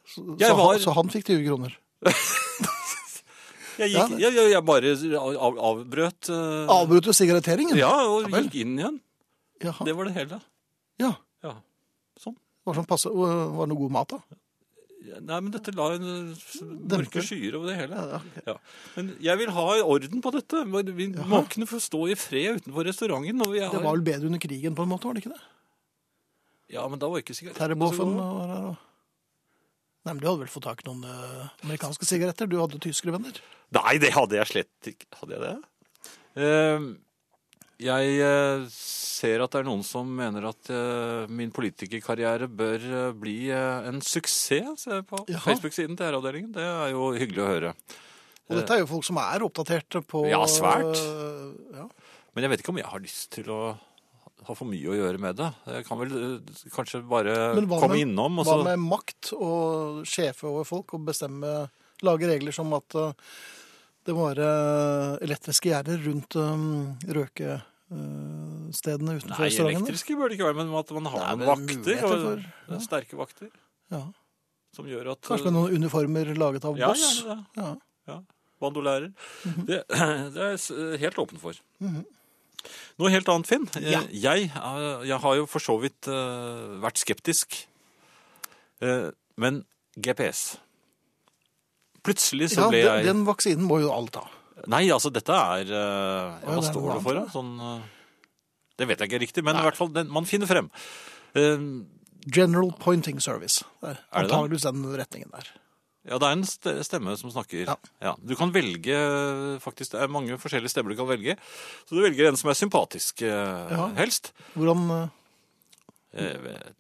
S1: så,
S2: Jeg
S1: så,
S2: var-
S1: han, så han fikk 20 kroner.
S2: Jeg,
S1: Ja,
S2: gikk,
S1: men-
S2: jeg, jeg, jeg bare av, avbrøt eh,
S1: Avbrøt du sigaretteringen?
S2: Ja, og
S1: vel.
S2: gikk inn igjen.
S1: Jaha.
S2: Det var det hele.
S1: ja.
S2: Ja. Sånn.
S1: Var det sånn passe, var det noe god mat da?
S2: Nei, men dette la en eh, mørke skyer over det hele.
S1: Ja, ok.
S2: Ja. Men jeg vil ha orden på dette. Men Vi må kunne få stå i fred utenfor restauranten. Og vi
S1: Det
S2: har,
S1: var vel bedre under krigen på en måte, var det ikke det?
S2: ja, men da var ikke sikkert
S1: Terreboffen var her og... Nei, men du hadde vel fått tak i noen eh, amerikanske sigaretter? Du hadde tyskere venner.
S2: Nei, det hadde jeg slett ikke. Hadde jeg det? Eh, jeg eh, ser at det er noen som mener at eh, min politikerkarriere bør eh, bli eh, en suksess. Ser jeg på
S1: Jaha.
S2: Facebook-siden til Herreavdelingen. Det er jo hyggelig å høre.
S1: Og dette er jo folk som er oppdaterte på
S2: Eh. Ja, svært.
S1: eh, ja.
S2: Men jeg vet ikke om jeg har lyst til å ha for mye å gjøre med det. Jeg kan vel eh, kanskje bare
S1: Men hva
S2: komme
S1: med-
S2: innom. Og
S1: Hva
S2: så...
S1: med makt og sjefe over folk og bestemme Lage regler som at eh, det må være eh, elektriske gjerder rundt eh, røkestedene utenfor
S2: Nei,
S1: restaurantene?
S2: elektriske bør det ikke være, men at man har
S1: Nei,
S2: noen
S1: men
S2: vakter.
S1: muligheter
S2: og-
S1: for- ja.
S2: Sterke vakter.
S1: Ja.
S2: Som gjør at
S1: Kanskje med noen uniformer laget av
S2: ja,
S1: boss?
S2: gjerne det.
S1: Ja.
S2: Ja, bandolærer.
S1: Mhm.
S2: det, det er jeg s- helt åpen for. Noe helt annet, Finn. Eh,
S1: Ja.
S2: Jeg, eh, jeg har jo for så vidt eh, vært skeptisk. Eh, men GPS Plutselig så
S1: Ja,
S2: ble
S1: den,
S2: jeg
S1: den vaksinen må jo alle ta.
S2: Nei, altså dette er eh,
S1: Å, ja,
S2: Hva
S1: det er
S2: står
S1: noe
S2: det for?
S1: annet,
S2: da? Sånn, eh, det vet jeg ikke riktig, men i hvert fall den, man finner frem. Eh,
S1: General Pointing Service. Det
S2: Er
S1: er
S2: det det?
S1: antageligvis den retningen der.
S2: Ja, det er en ste- stemme som snakker. Ja.
S1: Ja.
S2: Du kan velge faktisk, Det er mange forskjellige stemmer du kan velge. Så du velger en som er sympatisk, eh, helst.
S1: Hvordan eh,
S2: Eh, de-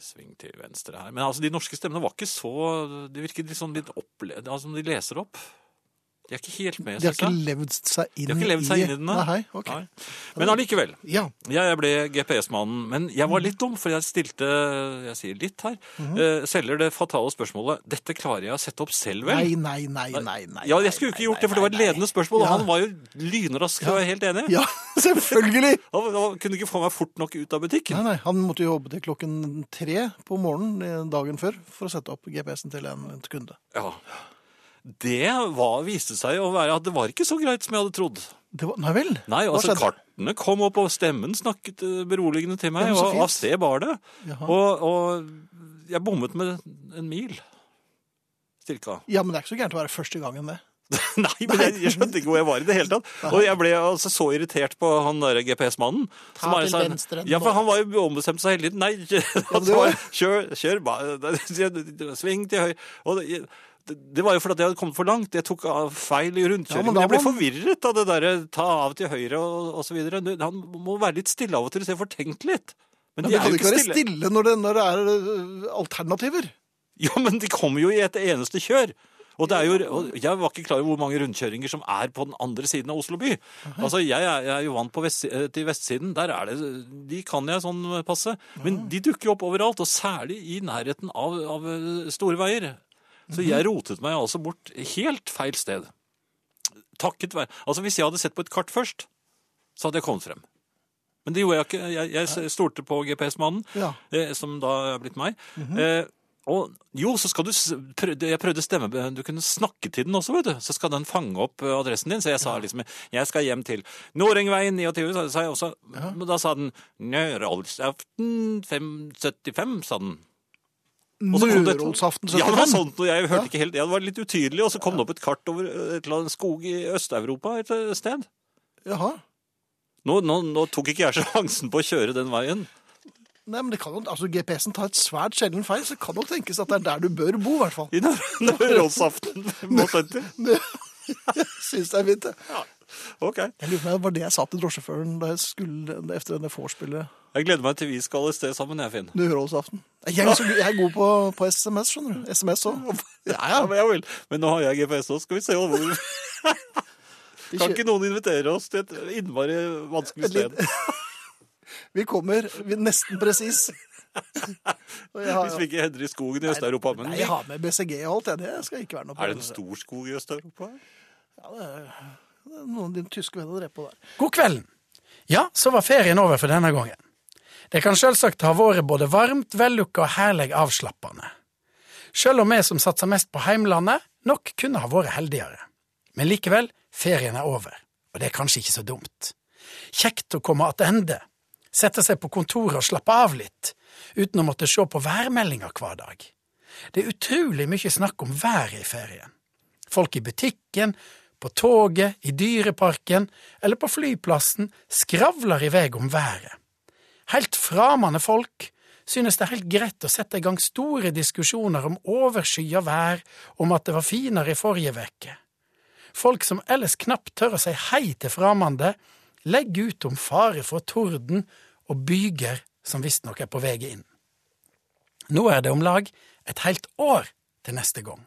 S2: Sving til venstre her. Men altså, de norske stemmene var ikke så De virker litt sånn litt opple... Altså, som de leser opp. De er ikke helt med,
S1: De har
S2: synes
S1: ikke
S2: jeg.
S1: levd seg inn i
S2: De har ikke levd seg inn i den, nei.
S1: Nei, ok.
S2: Nei. Men allikevel.
S1: Ja.
S2: Jeg ble GPS-mannen, men jeg var litt dum, for jeg stilte Jeg sier litt her. eh, Selger det fatale spørsmålet 'Dette klarer jeg å sette opp selv, vel?'
S1: Nei, nei, nei, nei, nei.
S2: Ja, jeg skulle jo ikke gjort det, for det var et ledende spørsmål, og
S1: Ja.
S2: han var jo lynrask, og jeg er helt enig.
S1: Ja, selvfølgelig!
S2: Han, han kunne ikke få meg fort nok ut av
S1: Nei,
S2: butikken.
S1: nei, Han måtte jo jobbe til klokken tre på morgenen eh, dagen før for å sette opp GPS-en til en en kunde.
S2: Ja. Det var, viste seg å være at det var ikke så greit som jeg hadde trodd.
S1: Det var, nei vel?
S2: Nei,
S1: Hva
S2: altså
S1: skjedde?
S2: kartene kom opp, og stemmen snakket eh, beroligende til meg,
S1: Ja, men så
S2: og
S1: fint.
S2: av sted bar det.
S1: Jaha.
S2: Og, og jeg bommet med en mil. Cirka.
S1: Ja, men det er ikke så gærent å være første gangen, det.
S2: Nei, men jeg, jeg skjønte ikke hvor jeg var i det hele tatt. Og jeg ble altså så irritert på han der GPS-mannen.
S1: Ta
S2: som bare
S1: til
S2: sa-
S1: venstre
S2: Ja, for
S1: nå.
S2: han var jo ombestemt seg hele tiden. Nei,
S1: men det var-
S2: kjør, kjør, ba- sving til høyre. Og det, Det, det var jo fordi at jeg hadde kommet for langt. Jeg tok av feil i
S1: Ja,
S2: rundkjøringen.
S1: men da
S2: jeg ble
S1: må han-
S2: forvirret av det derre ta av til høyre og, og så videre. Du, han må være litt stille av og til, så jeg får tenkt litt. Men
S1: Men
S2: de
S1: det
S2: er
S1: kan
S2: jo
S1: ikke være
S2: ikke stille.
S1: stille når det, når det er øh, alternativer.
S2: Jo, men de kommer jo i et eneste kjør. Og det er jo, og jeg var ikke klar over hvor mange rundkjøringer som er på den andre siden av Oslo by. Altså, Jeg er, jeg er jo vant på vest, eh, til vestsiden. Der er det, De kan jeg sånn passe. Men de dukker jo opp overalt, og særlig i nærheten av, av eh, store veier. Så jeg rotet meg altså bort helt feil sted. Takket være Altså, Hvis jeg hadde sett på et kart først, så hadde jeg kommet frem. Men det gjorde jeg ikke. Jeg, jeg stolte på GPS-mannen,
S1: Ja.
S2: eh, som da er blitt meg. eh, og jo, så skal du s- prøv- Jeg prøvde stemme Du kunne snakke til den også, vet du. Så skal den fange opp eh, adressen din. Så jeg sa liksom Jeg skal hjem til Norengveien 29, sa- sa jeg også. Men da sa den Nøralsaften 575, sa den. Og så kom det et-
S1: Nørolsaften
S2: Ja, altså- det var
S1: 75.
S2: sånt, og jeg hørte ikke helt ja, Det var litt utydelig, og så kom det opp et kart over eh, et eller annet skog i Øst-Europa et eh, sted.
S1: Jaha.
S2: Nå, nå, nå tok ikke jeg sjansen på å kjøre den veien.
S1: Nei, men det kan jo, altså GPS-en tar et svært sjelden feil, så det kan jo tenkes at det er der du bør bo, i hvert fall.
S2: I Nør- Nøralsaften 75.
S1: Det synes jeg er fint, det.
S2: Ok.
S1: Jeg lurer på om det var det jeg sa til drosjeføren da jeg skulle, efter denne vorspillet
S2: Jeg gleder meg til vi skal et sted sammen, jeg, Finn.
S1: Nørolsaften. Jeg, er så- jeg er god på, på SMS, skjønner du. SMS òg. Ja, ja.
S2: Ja, men, jeg vil. men nå har jeg GPS også, skal vi se hvor
S1: Vi,
S2: Kan
S1: kjø-
S2: ikke noen invitere oss til et innmari vanskelig
S1: Et
S2: sted?
S1: litt- vi kommer vi er nesten presis. Og jeg har-
S2: Hvis vi ikke hender i skogen i Øst-Europa. Men
S1: Nei, jeg har med BCG og alt, jeg. Det skal ikke være noe
S2: er det en
S1: problem.
S2: stor skog i Øst-Europa?
S1: Ja, det er- det er noen av dine tyske venner drev på der.
S5: God kvelden. Ja, så var ferien over for denne gangen. Det kan selvsagt ha vært både varmt, vellukka og herlig avslappende. Selv om vi som satser mest på heimlandet, nok kunne ha vært heldigere. Men likevel, ferien er over, og det er kanskje ikke så dumt. Kjekt å komme tilbake, sette seg på kontoret og slappe av litt, uten å måtte se på værmeldinga hver dag. Det er utrolig mye snakk om været i ferien. Folk i butikken, på toget, i dyreparken eller på flyplassen skravler i vei om været. Helt framande folk synes det er helt greit å sette i gang store diskusjoner om overskya vær, om at det var finere i forrige uke. Folk som ellers knapt tør å si hei til framande, legger ut om fare for torden og byger som visstnok er på vei inn. Nå er det om lag et helt år til neste gang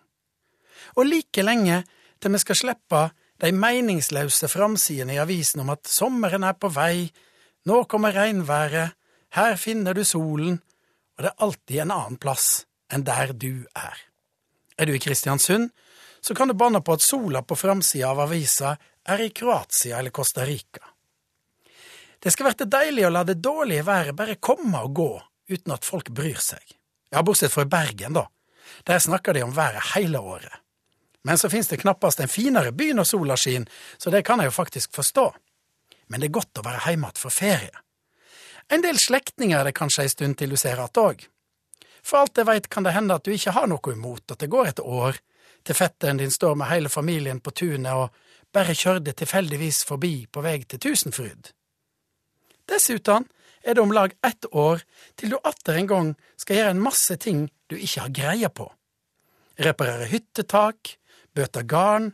S5: og like lenge til vi skal slippe de meningsløse framsidene i avisen om at sommeren er på vei, nå kommer regnværet, her finner du solen, og det er alltid en annen plass enn der du er. Er du i Kristiansund, så kan du banne på at sola på framsida av avisa er i Kroatia eller Costa Rica. Det skal være deilig å la det dårlige været bare komme og gå, uten at folk bryr seg. Ja, bortsett fra i Bergen, da. Der snakker de om været hele året. Men så finnes det knappast en finere by når sola skinner, så det kan jeg jo faktisk forstå. Men det er godt å være hjemme igjen for ferie. En del slektninger er det kanskje ei stund til du ser att òg. For alt jeg veit kan det hende at du ikke har noe imot at det går et år, til fetteren din står med hele familien på tunet og bare kjørte tilfeldigvis forbi på vei til Tusenfryd. Dessuten er det om lag ett år til du atter en gang skal gjøre en masse ting du ikke har greie på. Reparere hyttetak, bøte garn,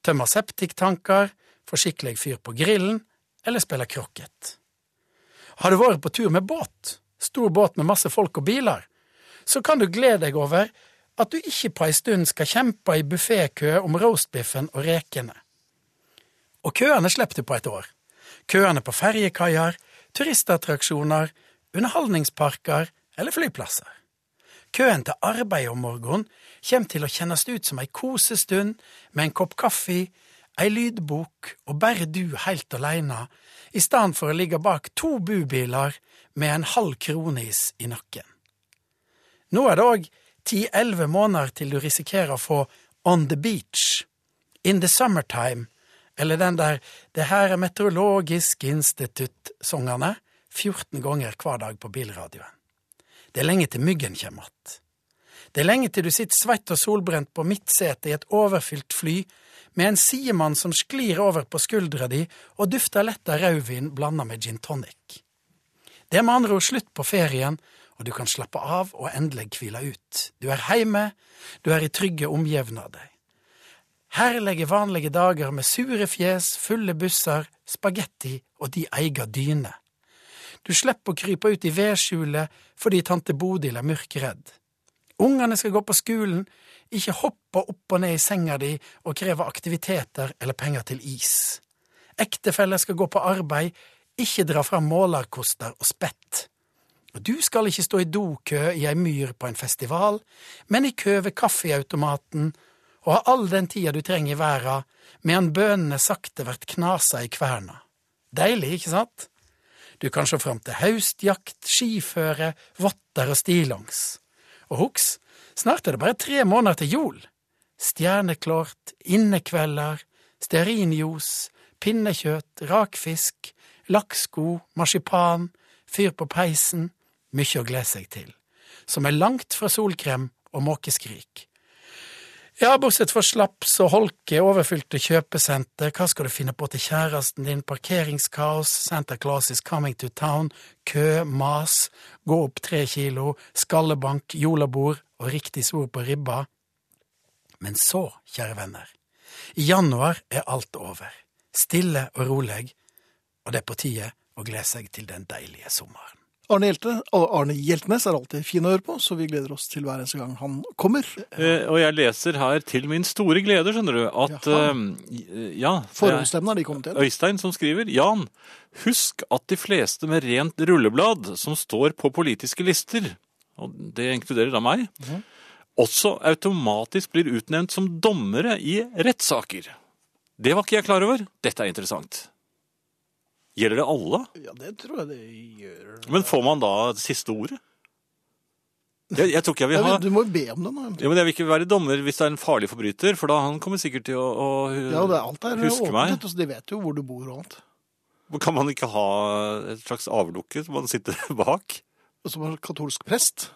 S5: tømme septiktanker, få skikkelig fyr på grillen eller spille krokket. Har du vært på tur med båt, stor båt med masse folk og biler, så kan du glede deg over at du ikke på ei stund skal kjempe i buffékø om roastbiffen og rekene. Og køene slipper du på et år. Køene på ferjekaier, turistattraksjoner, underholdningsparker eller flyplasser. Køen til arbeid om morgenen kommer til å kjennes ut som ei kosestund med en kopp kaffe, ei lydbok og bare du helt aleine, i stedet for å ligge bak to bubiler med en halv kronis i nakken. Nå er det òg ti–elleve måneder til du risikerer å få On the Beach, In the Summertime eller den der Det her er Meteorologisk institutt-sangene 14 ganger hver dag på bilradioen. Det er lenge til myggen kommer att. Det er lenge til du sitter svett og solbrent på midtsetet i et overfylt fly med en sidemann som sklir over på skuldra di og dufter lett av rødvin blanda med gin tonic. Det er med andre ord slutt på ferien og du kan slappe av og endelig hvile ut. Du er heime, du er i trygge omgjevnader. Herlige vanlige dager med sure fjes, fulle busser, spagetti og de eiga dyne. Du slipper å krype ut i vedskjulet fordi tante Bodil er mørkredd. Ungene skal gå på skolen, ikke hoppe opp og ned i senga di og kreve aktiviteter eller penger til is. Ektefeller skal gå på arbeid, ikke dra fram målerkoster og spett. Og du skal ikke stå i dokø i ei myr på en festival, men i kø ved kaffeautomaten, og ha all den tida du trenger i verda, medan bønene sakte vert knasa i kverna. Deilig, ikke sant? Du kan se fram til haustjakt, skiføre, votter og stillongs. Og husk, snart er det bare tre måneder til jul. Stjerneklart, innekvelder, stearinjuice, pinnekjøtt, rakfisk, lakksko, marsipan, fyr på peisen, mykje å glede seg til, som er langt fra solkrem og måkeskrik. Ja, bortsett fra slaps og holke, overfylte kjøpesenter, hva skal du finne på til kjæresten din, parkeringskaos, Santa Claus is coming to town, kø, mas, gå opp tre kilo, skallebank, jolabord og riktig svor på ribba. Men så, kjære venner, i januar er alt over, stille og rolig, og det er på tide å glede seg til den deilige sommeren.
S1: Arne, Hjelte, Arne Hjeltnes er alltid fin å høre på, så vi gleder oss til hver eneste gang han kommer.
S2: Eh, og jeg leser her til min store glede, skjønner du, at
S1: Jaha.
S2: eh, ja, det er
S1: Forhåndsstemmene har de kommet igjen.
S2: Øystein som skriver Jan, husk at de fleste med rent rulleblad som står på politiske lister, og det inkluderer da meg, også automatisk blir utnevnt som dommere i rettssaker. Det var ikke jeg klar over. Dette er interessant. Gjelder det alle?
S1: Ja, det tror jeg det gjør.
S2: Men får man da siste ordet? Jeg, jeg tror ikke jeg vil ha
S1: Du må jo be om det nå.
S2: ja, men Jeg vil ikke være dommer hvis det er en farlig forbryter, for da han kommer sikkert til å, å
S1: Ja, det er alt der
S2: Husker meg.
S1: åpent, ut, så de vet jo hvor du bor og alt.
S2: Kan man ikke ha et slags avlukke som man sitter bak?
S1: Og som er katolsk prest.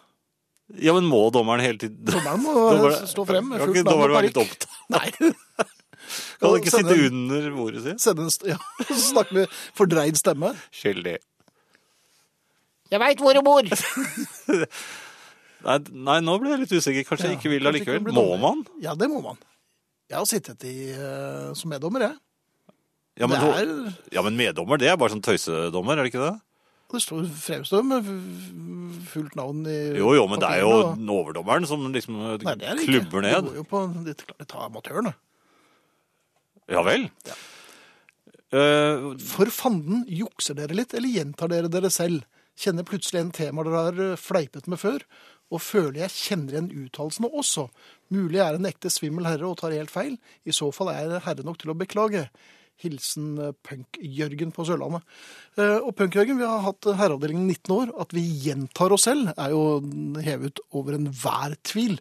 S2: Ja, men må dommeren hele tiden
S1: Dommeren må
S2: Dommeren-
S1: stå frem med
S2: Kan
S1: fullt
S2: ikke
S1: navn
S2: dommeren
S1: og
S2: være litt
S1: parykk.
S2: opptatt?
S1: Nei.
S2: Kan han ikke
S1: Sende
S2: sitte
S1: en-
S2: under bordet sitt?
S1: Sende en, st- ja, så snakke med fordreid stemme.
S2: Skyldig.
S3: Jeg veit hvor du bor.
S2: Nei, nei, nå ble jeg litt usikker. Kanskje jeg ikke vil
S1: Ja, kanskje
S2: allikevel.
S1: ikke blir
S2: Må
S1: dommer.
S2: man?
S1: Ja, det må man. Jeg har sittet i, eh, som meddommer, jeg.
S2: Ja men,
S1: det,
S2: hå-
S1: er,
S2: ja, men meddommer, det er bare sånn tøysedommer, er det ikke det?
S1: det står fremstår med f- fullt navn i
S2: Jo, jo, men det er jo
S1: papirene, og-
S2: den overdommeren som liksom eh,
S1: Nei, det er det ikke.
S2: klubber
S1: Det går
S2: ned.
S1: jo på det er klart, det tar amatørene.
S2: Ja vel? Eh,
S1: For fanden, jukser dere litt, eller gjentar dere dere selv? Kjenner plutselig en tema dere har eh, fleipet med før, og føler jeg kjenner igjen uttalelsene også. Mulig jeg er en ekte svimmel herre og tar helt feil. I så fall er jeg herre nok til å beklage. Hilsen eh, Punk-Jørgen på Sørlandet. Eh, Og Punk-Jørgen, vi har hatt eh, herreavdelingen i 19 år. At vi gjentar oss selv, er jo hevet over enhver tvil.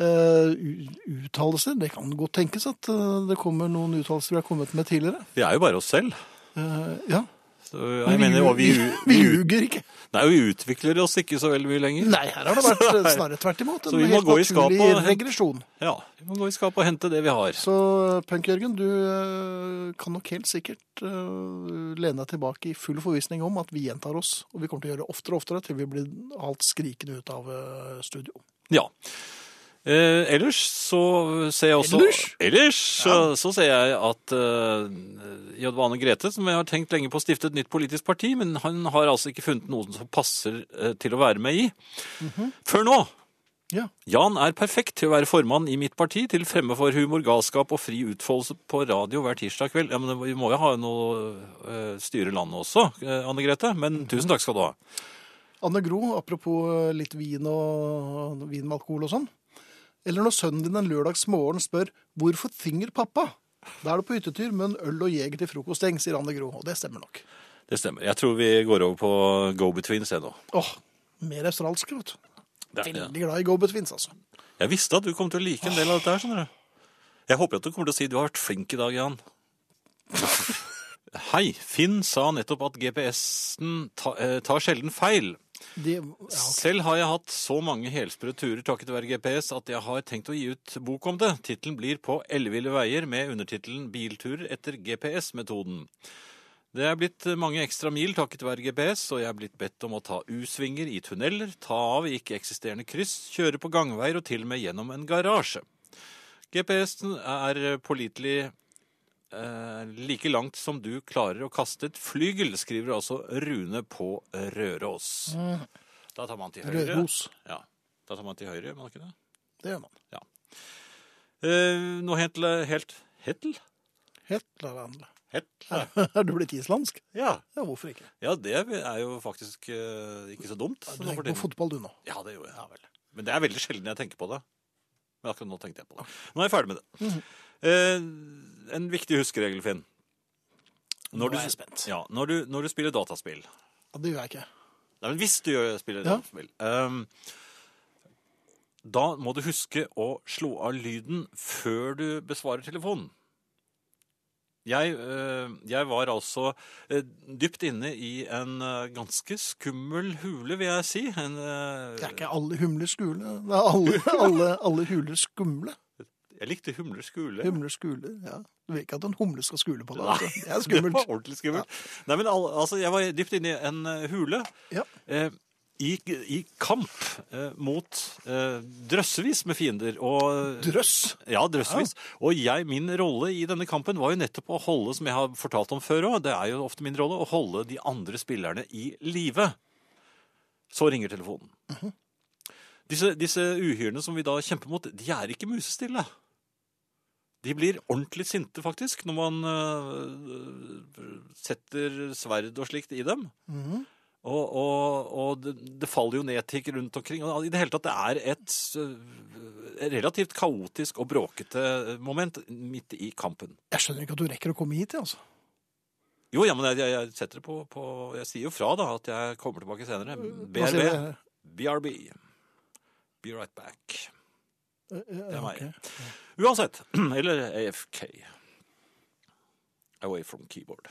S1: Eh, u- Uttalelser Det kan godt tenkes at eh, det kommer noen uttalelser vi har kommet med tidligere.
S2: vi er jo bare oss selv.
S1: Eh, Ja.
S2: Så, jeg mener, og vi,
S1: vi,
S2: vi,
S1: ljuger ikke.
S2: nei, vi utvikler oss ikke så veldig mye lenger.
S1: Nei, her har det vært snarere tvert imot.
S2: Så
S1: En
S2: vi må
S1: helt
S2: gå i skapet
S1: naturlig
S2: og-
S1: regresjon.
S2: Ja, Vi må gå i skapet og hente det vi har.
S1: Så Punk-Jørgen, du eh, kan nok helt sikkert eh, lene deg tilbake i full forvisning om at vi gjentar oss. Og vi kommer til å gjøre det oftere og oftere til vi blir alt skrikende ut av eh, studio.
S2: Ja. Eh, ellers så ser jeg også
S1: Ellers?
S2: Ellers så, så ser jeg at eh, J. Vane Grete, som jeg har tenkt lenge på å stifte et nytt politisk parti, men han har altså ikke funnet noen som passer eh, til å være med i. Før nå.
S1: Ja.
S2: Jan er perfekt til å være formann i mitt parti, til fremme for humor, galskap og fri utfoldelse på radio hver tirsdag kveld. Ja, men Vi må jo ha noe eh, styre landet også, eh, Anne Grete, men tusen takk skal du ha.
S1: Anne Gro, apropos eh, litt vin og vin med alkohol og sånn. Eller når sønnen din en lørdagsmorgen spør 'Hvorfor tvinger pappa?' Da er du på hyttetur med en øl og jeger til frokoststeng, sier Anne Gro. Og det stemmer nok.
S2: Det stemmer. Jeg tror vi går over på go-betweens jeg nå.
S1: Åh, mer australsk, vet du.
S2: Det er-
S1: Veldig glad i go-betwins, altså.
S2: Jeg visste at du kom til å like en del av dette her, skjønner du. Jeg håper at du kommer til å si du har vært flink i dag, Jan. Hei, Finn sa nettopp at GPS-en ta, eh, tar sjelden feil.
S1: De, ja, ok.
S2: Selv har jeg hatt så mange helsprø turer takket være GPS at jeg har tenkt å gi ut bok om det. Tittelen blir På elleville veier med undertittelen Bilturer etter GPS-metoden. Det er blitt mange ekstra mil takket være GPS, og jeg er blitt bedt om å ta U-svinger i tunneler, ta av i ikke-eksisterende kryss, kjøre på gangveier og til og med gjennom en garasje. GPS-en er pålitelig eh, like langt som du klarer å kaste et flygel, skriver altså Rune på Røros. Da tar man til høyre.
S1: Røros.
S2: Ja, da tar man til høyre, gjør man ikke det?
S1: Det gjør man.
S2: Eh, noe helt, helt Hetl?
S1: Helt eller annet.
S2: Hetl?
S1: Er du blitt islandsk?
S2: Ja.
S1: Ja, hvorfor ikke?
S2: Ja, det er jo faktisk eh, ikke så dumt.
S1: Du
S2: nå for
S1: tenker på
S2: tiden.
S1: fotball du nå.
S2: Ja, det gjorde jeg. Ja, vel. Men det er veldig sjelden jeg tenker på det. Men akkurat nå tenkte jeg på det. Nå er jeg ferdig med det.
S1: Mhm.
S2: eh, en viktig huskeregel, Finn. Når
S1: Nå
S2: du-
S1: er jeg spent.
S2: Ja, når du, når du spiller dataspill
S1: Ja, det gjør jeg ikke.
S2: Nei, men hvis du gjør- spiller
S1: Ja.
S2: dataspill ehm, Da må du huske å slå av lyden før du besvarer telefonen. Jeg, eh, jeg var altså eh, dypt inne i en eh, ganske skummel hule, vil jeg si. En, eh,
S1: Det er ikke alle humler skule. Det er alle, alle, alle huler skumle.
S2: Jeg likte humler skule.
S1: Humler skule, ja. Du vil ikke at en humle skal skule på deg.
S2: Nei,
S1: altså. Det er
S2: Det
S1: skummelt.
S2: var ordentlig skummelt. Nei, men al altså, jeg var dypt inne i en eh, hule.
S1: Ja.
S2: Eh, i, I kamp eh, mot eh, drøssevis med fiender. Og,
S1: Drøss.
S2: Ja, drøssevis. Og jeg, min rolle i denne kampen var jo nettopp å holde, som jeg har fortalt om før òg, det er jo ofte min rolle, å holde de andre spillerne i live. Så ringer telefonen. Disse, disse uhyrene som vi da kjemper mot, de er ikke musestille. De blir ordentlig sinte, faktisk, når man øh, setter sverd og slikt i dem. Mhm. Og, og, og det, det faller jo ned ting rundt omkring. Og I det hele tatt, det er et øh, relativt kaotisk og bråkete moment midt i kampen.
S1: Jeg skjønner ikke at du rekker å komme hit, jeg, altså.
S2: Jo, ja, men jeg, jeg, jeg setter det på, på Jeg sier jo fra, da, at jeg kommer tilbake senere.
S1: Mm. Hva sier
S2: BRB.
S1: Altså, jeg?
S2: BRB. Be right back.
S1: Det
S2: er meg.
S1: Okay.
S2: Uansett, eller AFK. Away from keyboard.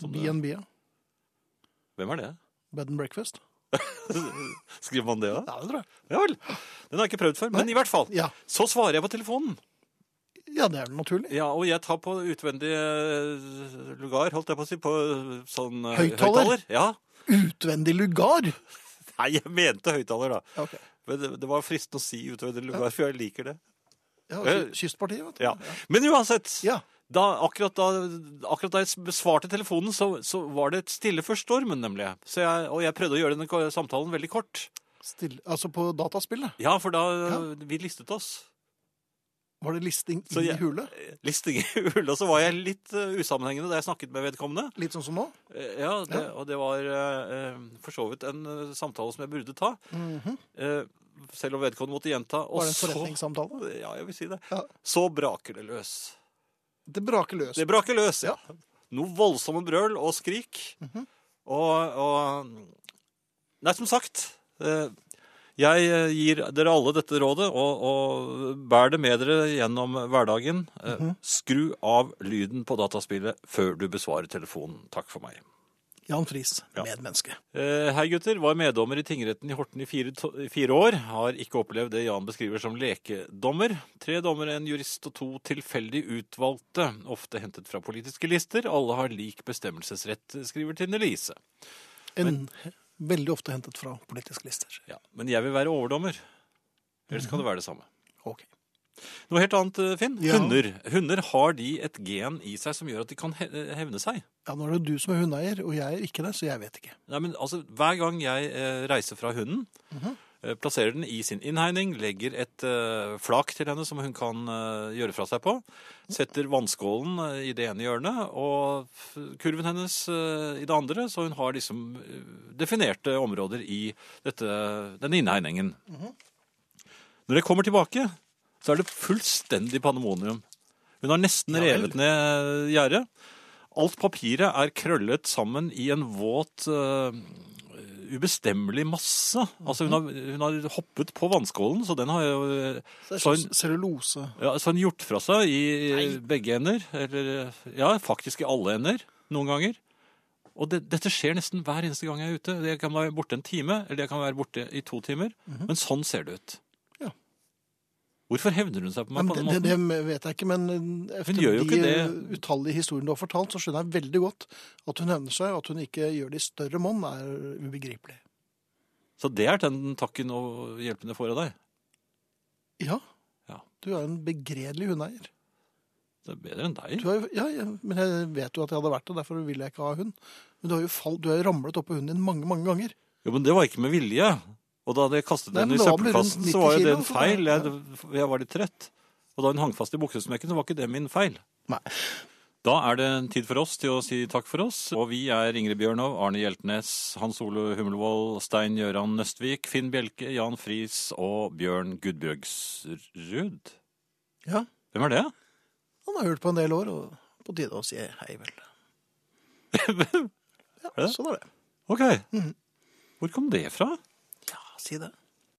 S2: Som det-
S1: B&B, ja.
S2: Hvem er det?
S1: Bed and breakfast.
S2: Skriver man det, da?
S1: Ja, det tror jeg.
S2: Ja vel. Den har jeg ikke prøvd før. Men i hvert fall,
S1: Ja,
S2: så svarer jeg på telefonen.
S1: ja det er vel naturlig.
S2: Ja, Og jeg tar på utvendig eh, lugar, holdt jeg på å si, på eh, sånn eh,
S1: Høyttaler?
S2: Ja.
S1: Utvendig lugar.
S2: Nei, jeg mente høyttaler, da.
S1: Ja, ok.
S2: Men det, det var fristende å si utvendig lugar, for jeg liker det.
S1: Ja,
S2: Eh,
S1: ky- Kystpartiet, vet du.
S2: Ja. Men uansett,
S1: Ja.
S2: da, akkurat, da, akkurat da jeg besvarte telefonen, så, så var det stille før stormen, nemlig. Så jeg, og jeg prøvde å gjøre denne ko- samtalen veldig kort.
S1: Stille. Altså på dataspillet.
S2: Ja, for da Vi listet oss.
S1: Var det listing
S2: Så
S1: i
S2: jeg-
S1: hule?
S2: Listing i hula, så var jeg litt eh, usammenhengende da jeg snakket med vedkommende.
S1: Litt sånn som nå?
S2: Eh, ja, det, Og det var eh, eh, for så vidt en eh, samtale som jeg burde ta. Eh, selv om vedkommende måtte gjenta.
S1: Mhm.
S2: Og
S1: Var det en
S2: så
S1: forretningssamtale?
S2: Ja, jeg vil si det.
S1: Ja.
S2: Så braker det løs.
S1: Det braker løs.
S2: Det braker løs, ja. Noe voldsomme brøl og skrik.
S1: Mhm.
S2: Og, og Nei, som sagt. eh, Jeg eh, gir dere alle dette rådet, og, og bær det med dere gjennom hverdagen. Eh,
S1: Mhm.
S2: Skru av lyden på dataspillet før du besvarer telefonen. Takk for meg.
S1: Jan Friis,
S2: Ja.
S1: medmenneske.
S2: Eh, Hei gutter, var meddommer i tingretten i Horten i fire, to- i fire år. Har ikke opplevd det Jan beskriver som lekedommer. Tre dommere, en jurist og to tilfeldig utvalgte, ofte hentet fra politiske lister. Alle har lik bestemmelsesrett, skriver Tine Lise.
S1: En veldig ofte hentet fra politiske lister.
S2: Ja, men jeg vil være overdommer. Ellers kan det være det samme.
S1: Mhm. Ok.
S2: Noe helt annet, eh, Finn.
S1: Ja.
S2: Hunder. Hunder har de et gen i seg som gjør at de kan he- hevne seg.
S1: Ja, nå er det du som er hundeeier, og jeg er ikke det, så jeg vet ikke.
S2: Nei, men altså, Hver gang jeg eh, reiser fra hunden, eh, plasserer den i sin innhegning, legger et eh, flak til henne som hun kan eh, gjøre fra seg på, setter vannskålen eh, i det ene hjørnet og f- kurven hennes eh, i det andre, så hun har liksom eh, definerte områder i dette, denne innhegningen. Når jeg kommer tilbake, så er det fullstendig pandemonium. Hun har nesten revet ned gjerdet. Alt papiret er krøllet sammen i en våt, øh, ubestemmelig masse.
S1: Mhm.
S2: Altså, hun har, hun har hoppet på vannskålen, så den har jo øh,
S1: Så det er
S2: Så
S1: sånn cellulose.
S2: ja, så hun gjort fra seg i begge ender. Eller ja, faktisk i alle ender noen ganger. Og det, dette skjer nesten hver eneste gang jeg er ute. Jeg kan være
S1: Mhm.
S2: borte en time, eller jeg kan være borte i to timer. Men sånn ser det ut.
S1: Ja.
S2: Hvorfor hevner hun seg på meg
S1: Men
S2: på
S1: det,
S2: den
S1: det,
S2: måten?
S1: det vet jeg ikke, men eh, etter
S2: gjør jo
S1: de
S2: ikke det.
S1: eh, utallige historiene du har fortalt, så skjønner jeg veldig godt at hun hevner seg, og at hun ikke gjør det i større monn, er ubegripelig.
S2: Så det er den takken og hjelpen jeg får av deg.
S1: Ja,
S2: Ja.
S1: du er en begredelig hundeeier.
S2: Det er bedre enn deg.
S1: Du er, jo- ja, ja, men jeg vet jo at jeg hadde vært det, derfor vil jeg ikke ha hund. Men du har jo fall, du har jo ramlet oppå hunden din mange, mange ganger.
S2: Jo, men det var ikke med vilje. Og da hadde jeg kastet
S1: Nei,
S2: den
S1: men
S2: i
S1: da var den rundt
S2: søppelkassen,
S1: 90
S2: så var jo det
S1: kilo,
S2: en
S1: så da-
S2: feil. Jeg, jeg var litt trett. Og da hun hang fast i buksesmekken, så var ikke det min feil.
S1: Nei.
S2: Da er det en tid for oss til å si takk for oss. Og vi er Ingrid Bjørnov, Arne Hjeltnes, Hans Ole Hummelvold, Stein Gjøran Nøstvik, Finn Bjelke, Jan Friis og Bjørn Gudbjørgsrud.
S1: Ja,
S2: Hvem er det?
S1: han har hørt på en del år, og på tide å si hei vel. Ja,
S2: det?
S1: sånn er det.
S2: Ok. Hvor kom det fra?
S1: Ja, si det.